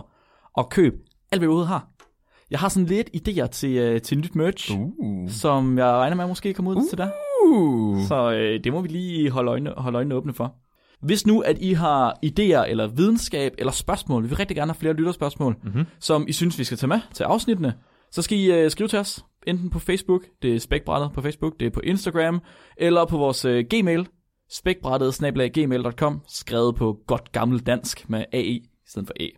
[SPEAKER 1] og køb alt, hvad vi overhovedet har. Jeg har sådan lidt idéer til, øh, til nyt merch.
[SPEAKER 2] Uh.
[SPEAKER 1] som jeg regner med at måske kommer ud uh. til dig.
[SPEAKER 2] uh.
[SPEAKER 1] Så øh, det må vi lige holde øjnene, holde øjnene åbne for. Hvis nu, at I har idéer eller videnskab eller spørgsmål, vi vil rigtig gerne have flere lytterspørgsmål, mm-hmm. som I synes, vi skal tage med til afsnittene, så skal I øh, skrive til os, enten på Facebook, det er spækbrættet på Facebook, det er på Instagram, eller på vores øh, gmail, spækbrættet snablag gmail.com, skrevet på godt gammel dansk med AE i stedet for E.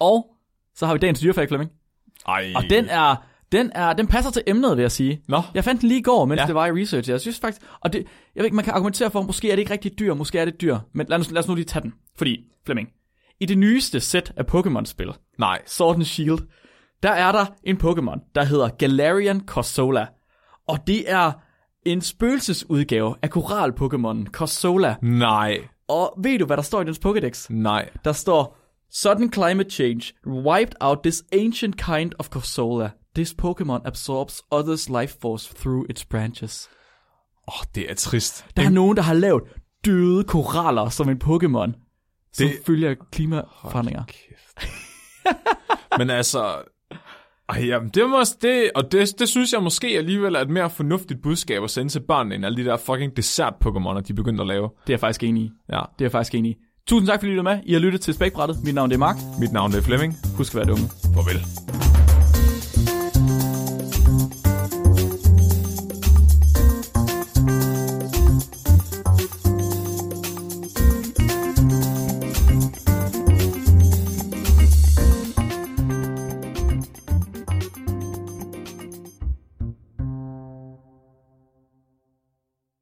[SPEAKER 1] Og så har vi dagens dyrefag, Flemming.
[SPEAKER 2] Ej.
[SPEAKER 1] Og den er, den er, den passer til emnet, vil jeg sige.
[SPEAKER 2] Nå.
[SPEAKER 1] Jeg fandt den lige i går, mens ja.
[SPEAKER 2] Ja.
[SPEAKER 1] det var i research. Jeg synes faktisk, og det, jeg ved ikke, man kan argumentere for, måske er det ikke rigtig dyr, måske er det dyr. Men lad os, lad os nu lige tage den. Fordi, Flemming, i det nyeste sæt af Pokémon-spil,
[SPEAKER 2] Nej.
[SPEAKER 1] Sword and Shield, der er der en Pokémon, der hedder Galarian Corsola. Og det er en spøgelsesudgave af koral-Pokémonen Corsola.
[SPEAKER 2] Nej.
[SPEAKER 1] Og ved du, hvad der står i dens Pokédex?
[SPEAKER 2] Nej.
[SPEAKER 1] Der står, Sudden climate change wiped out this ancient kind of Corsola. This Pokemon absorbs others' life force through its branches.
[SPEAKER 2] Åh, oh, det er trist.
[SPEAKER 1] Der er nogen, der har lavet døde koraller som en Pokemon, som det...
[SPEAKER 2] Det-
[SPEAKER 1] følger klimaforandringer.
[SPEAKER 2] Kæft. Men altså... Ej, jamen, det, må, det, og det, det synes jeg måske alligevel er et mere fornuftigt budskab at sende til børnene, end alle de der fucking dessert-pokémoner, de begyndte at lave.
[SPEAKER 1] Det er jeg faktisk enig i.
[SPEAKER 2] Ja.
[SPEAKER 1] Det er jeg faktisk enig i. Tusind tak, fordi I lyttede med. I har lyttet til Spækbrættet. Mit navn det er Mark.
[SPEAKER 2] Mit navn er Flemming.
[SPEAKER 1] Husk at være dumme.
[SPEAKER 2] Farvel.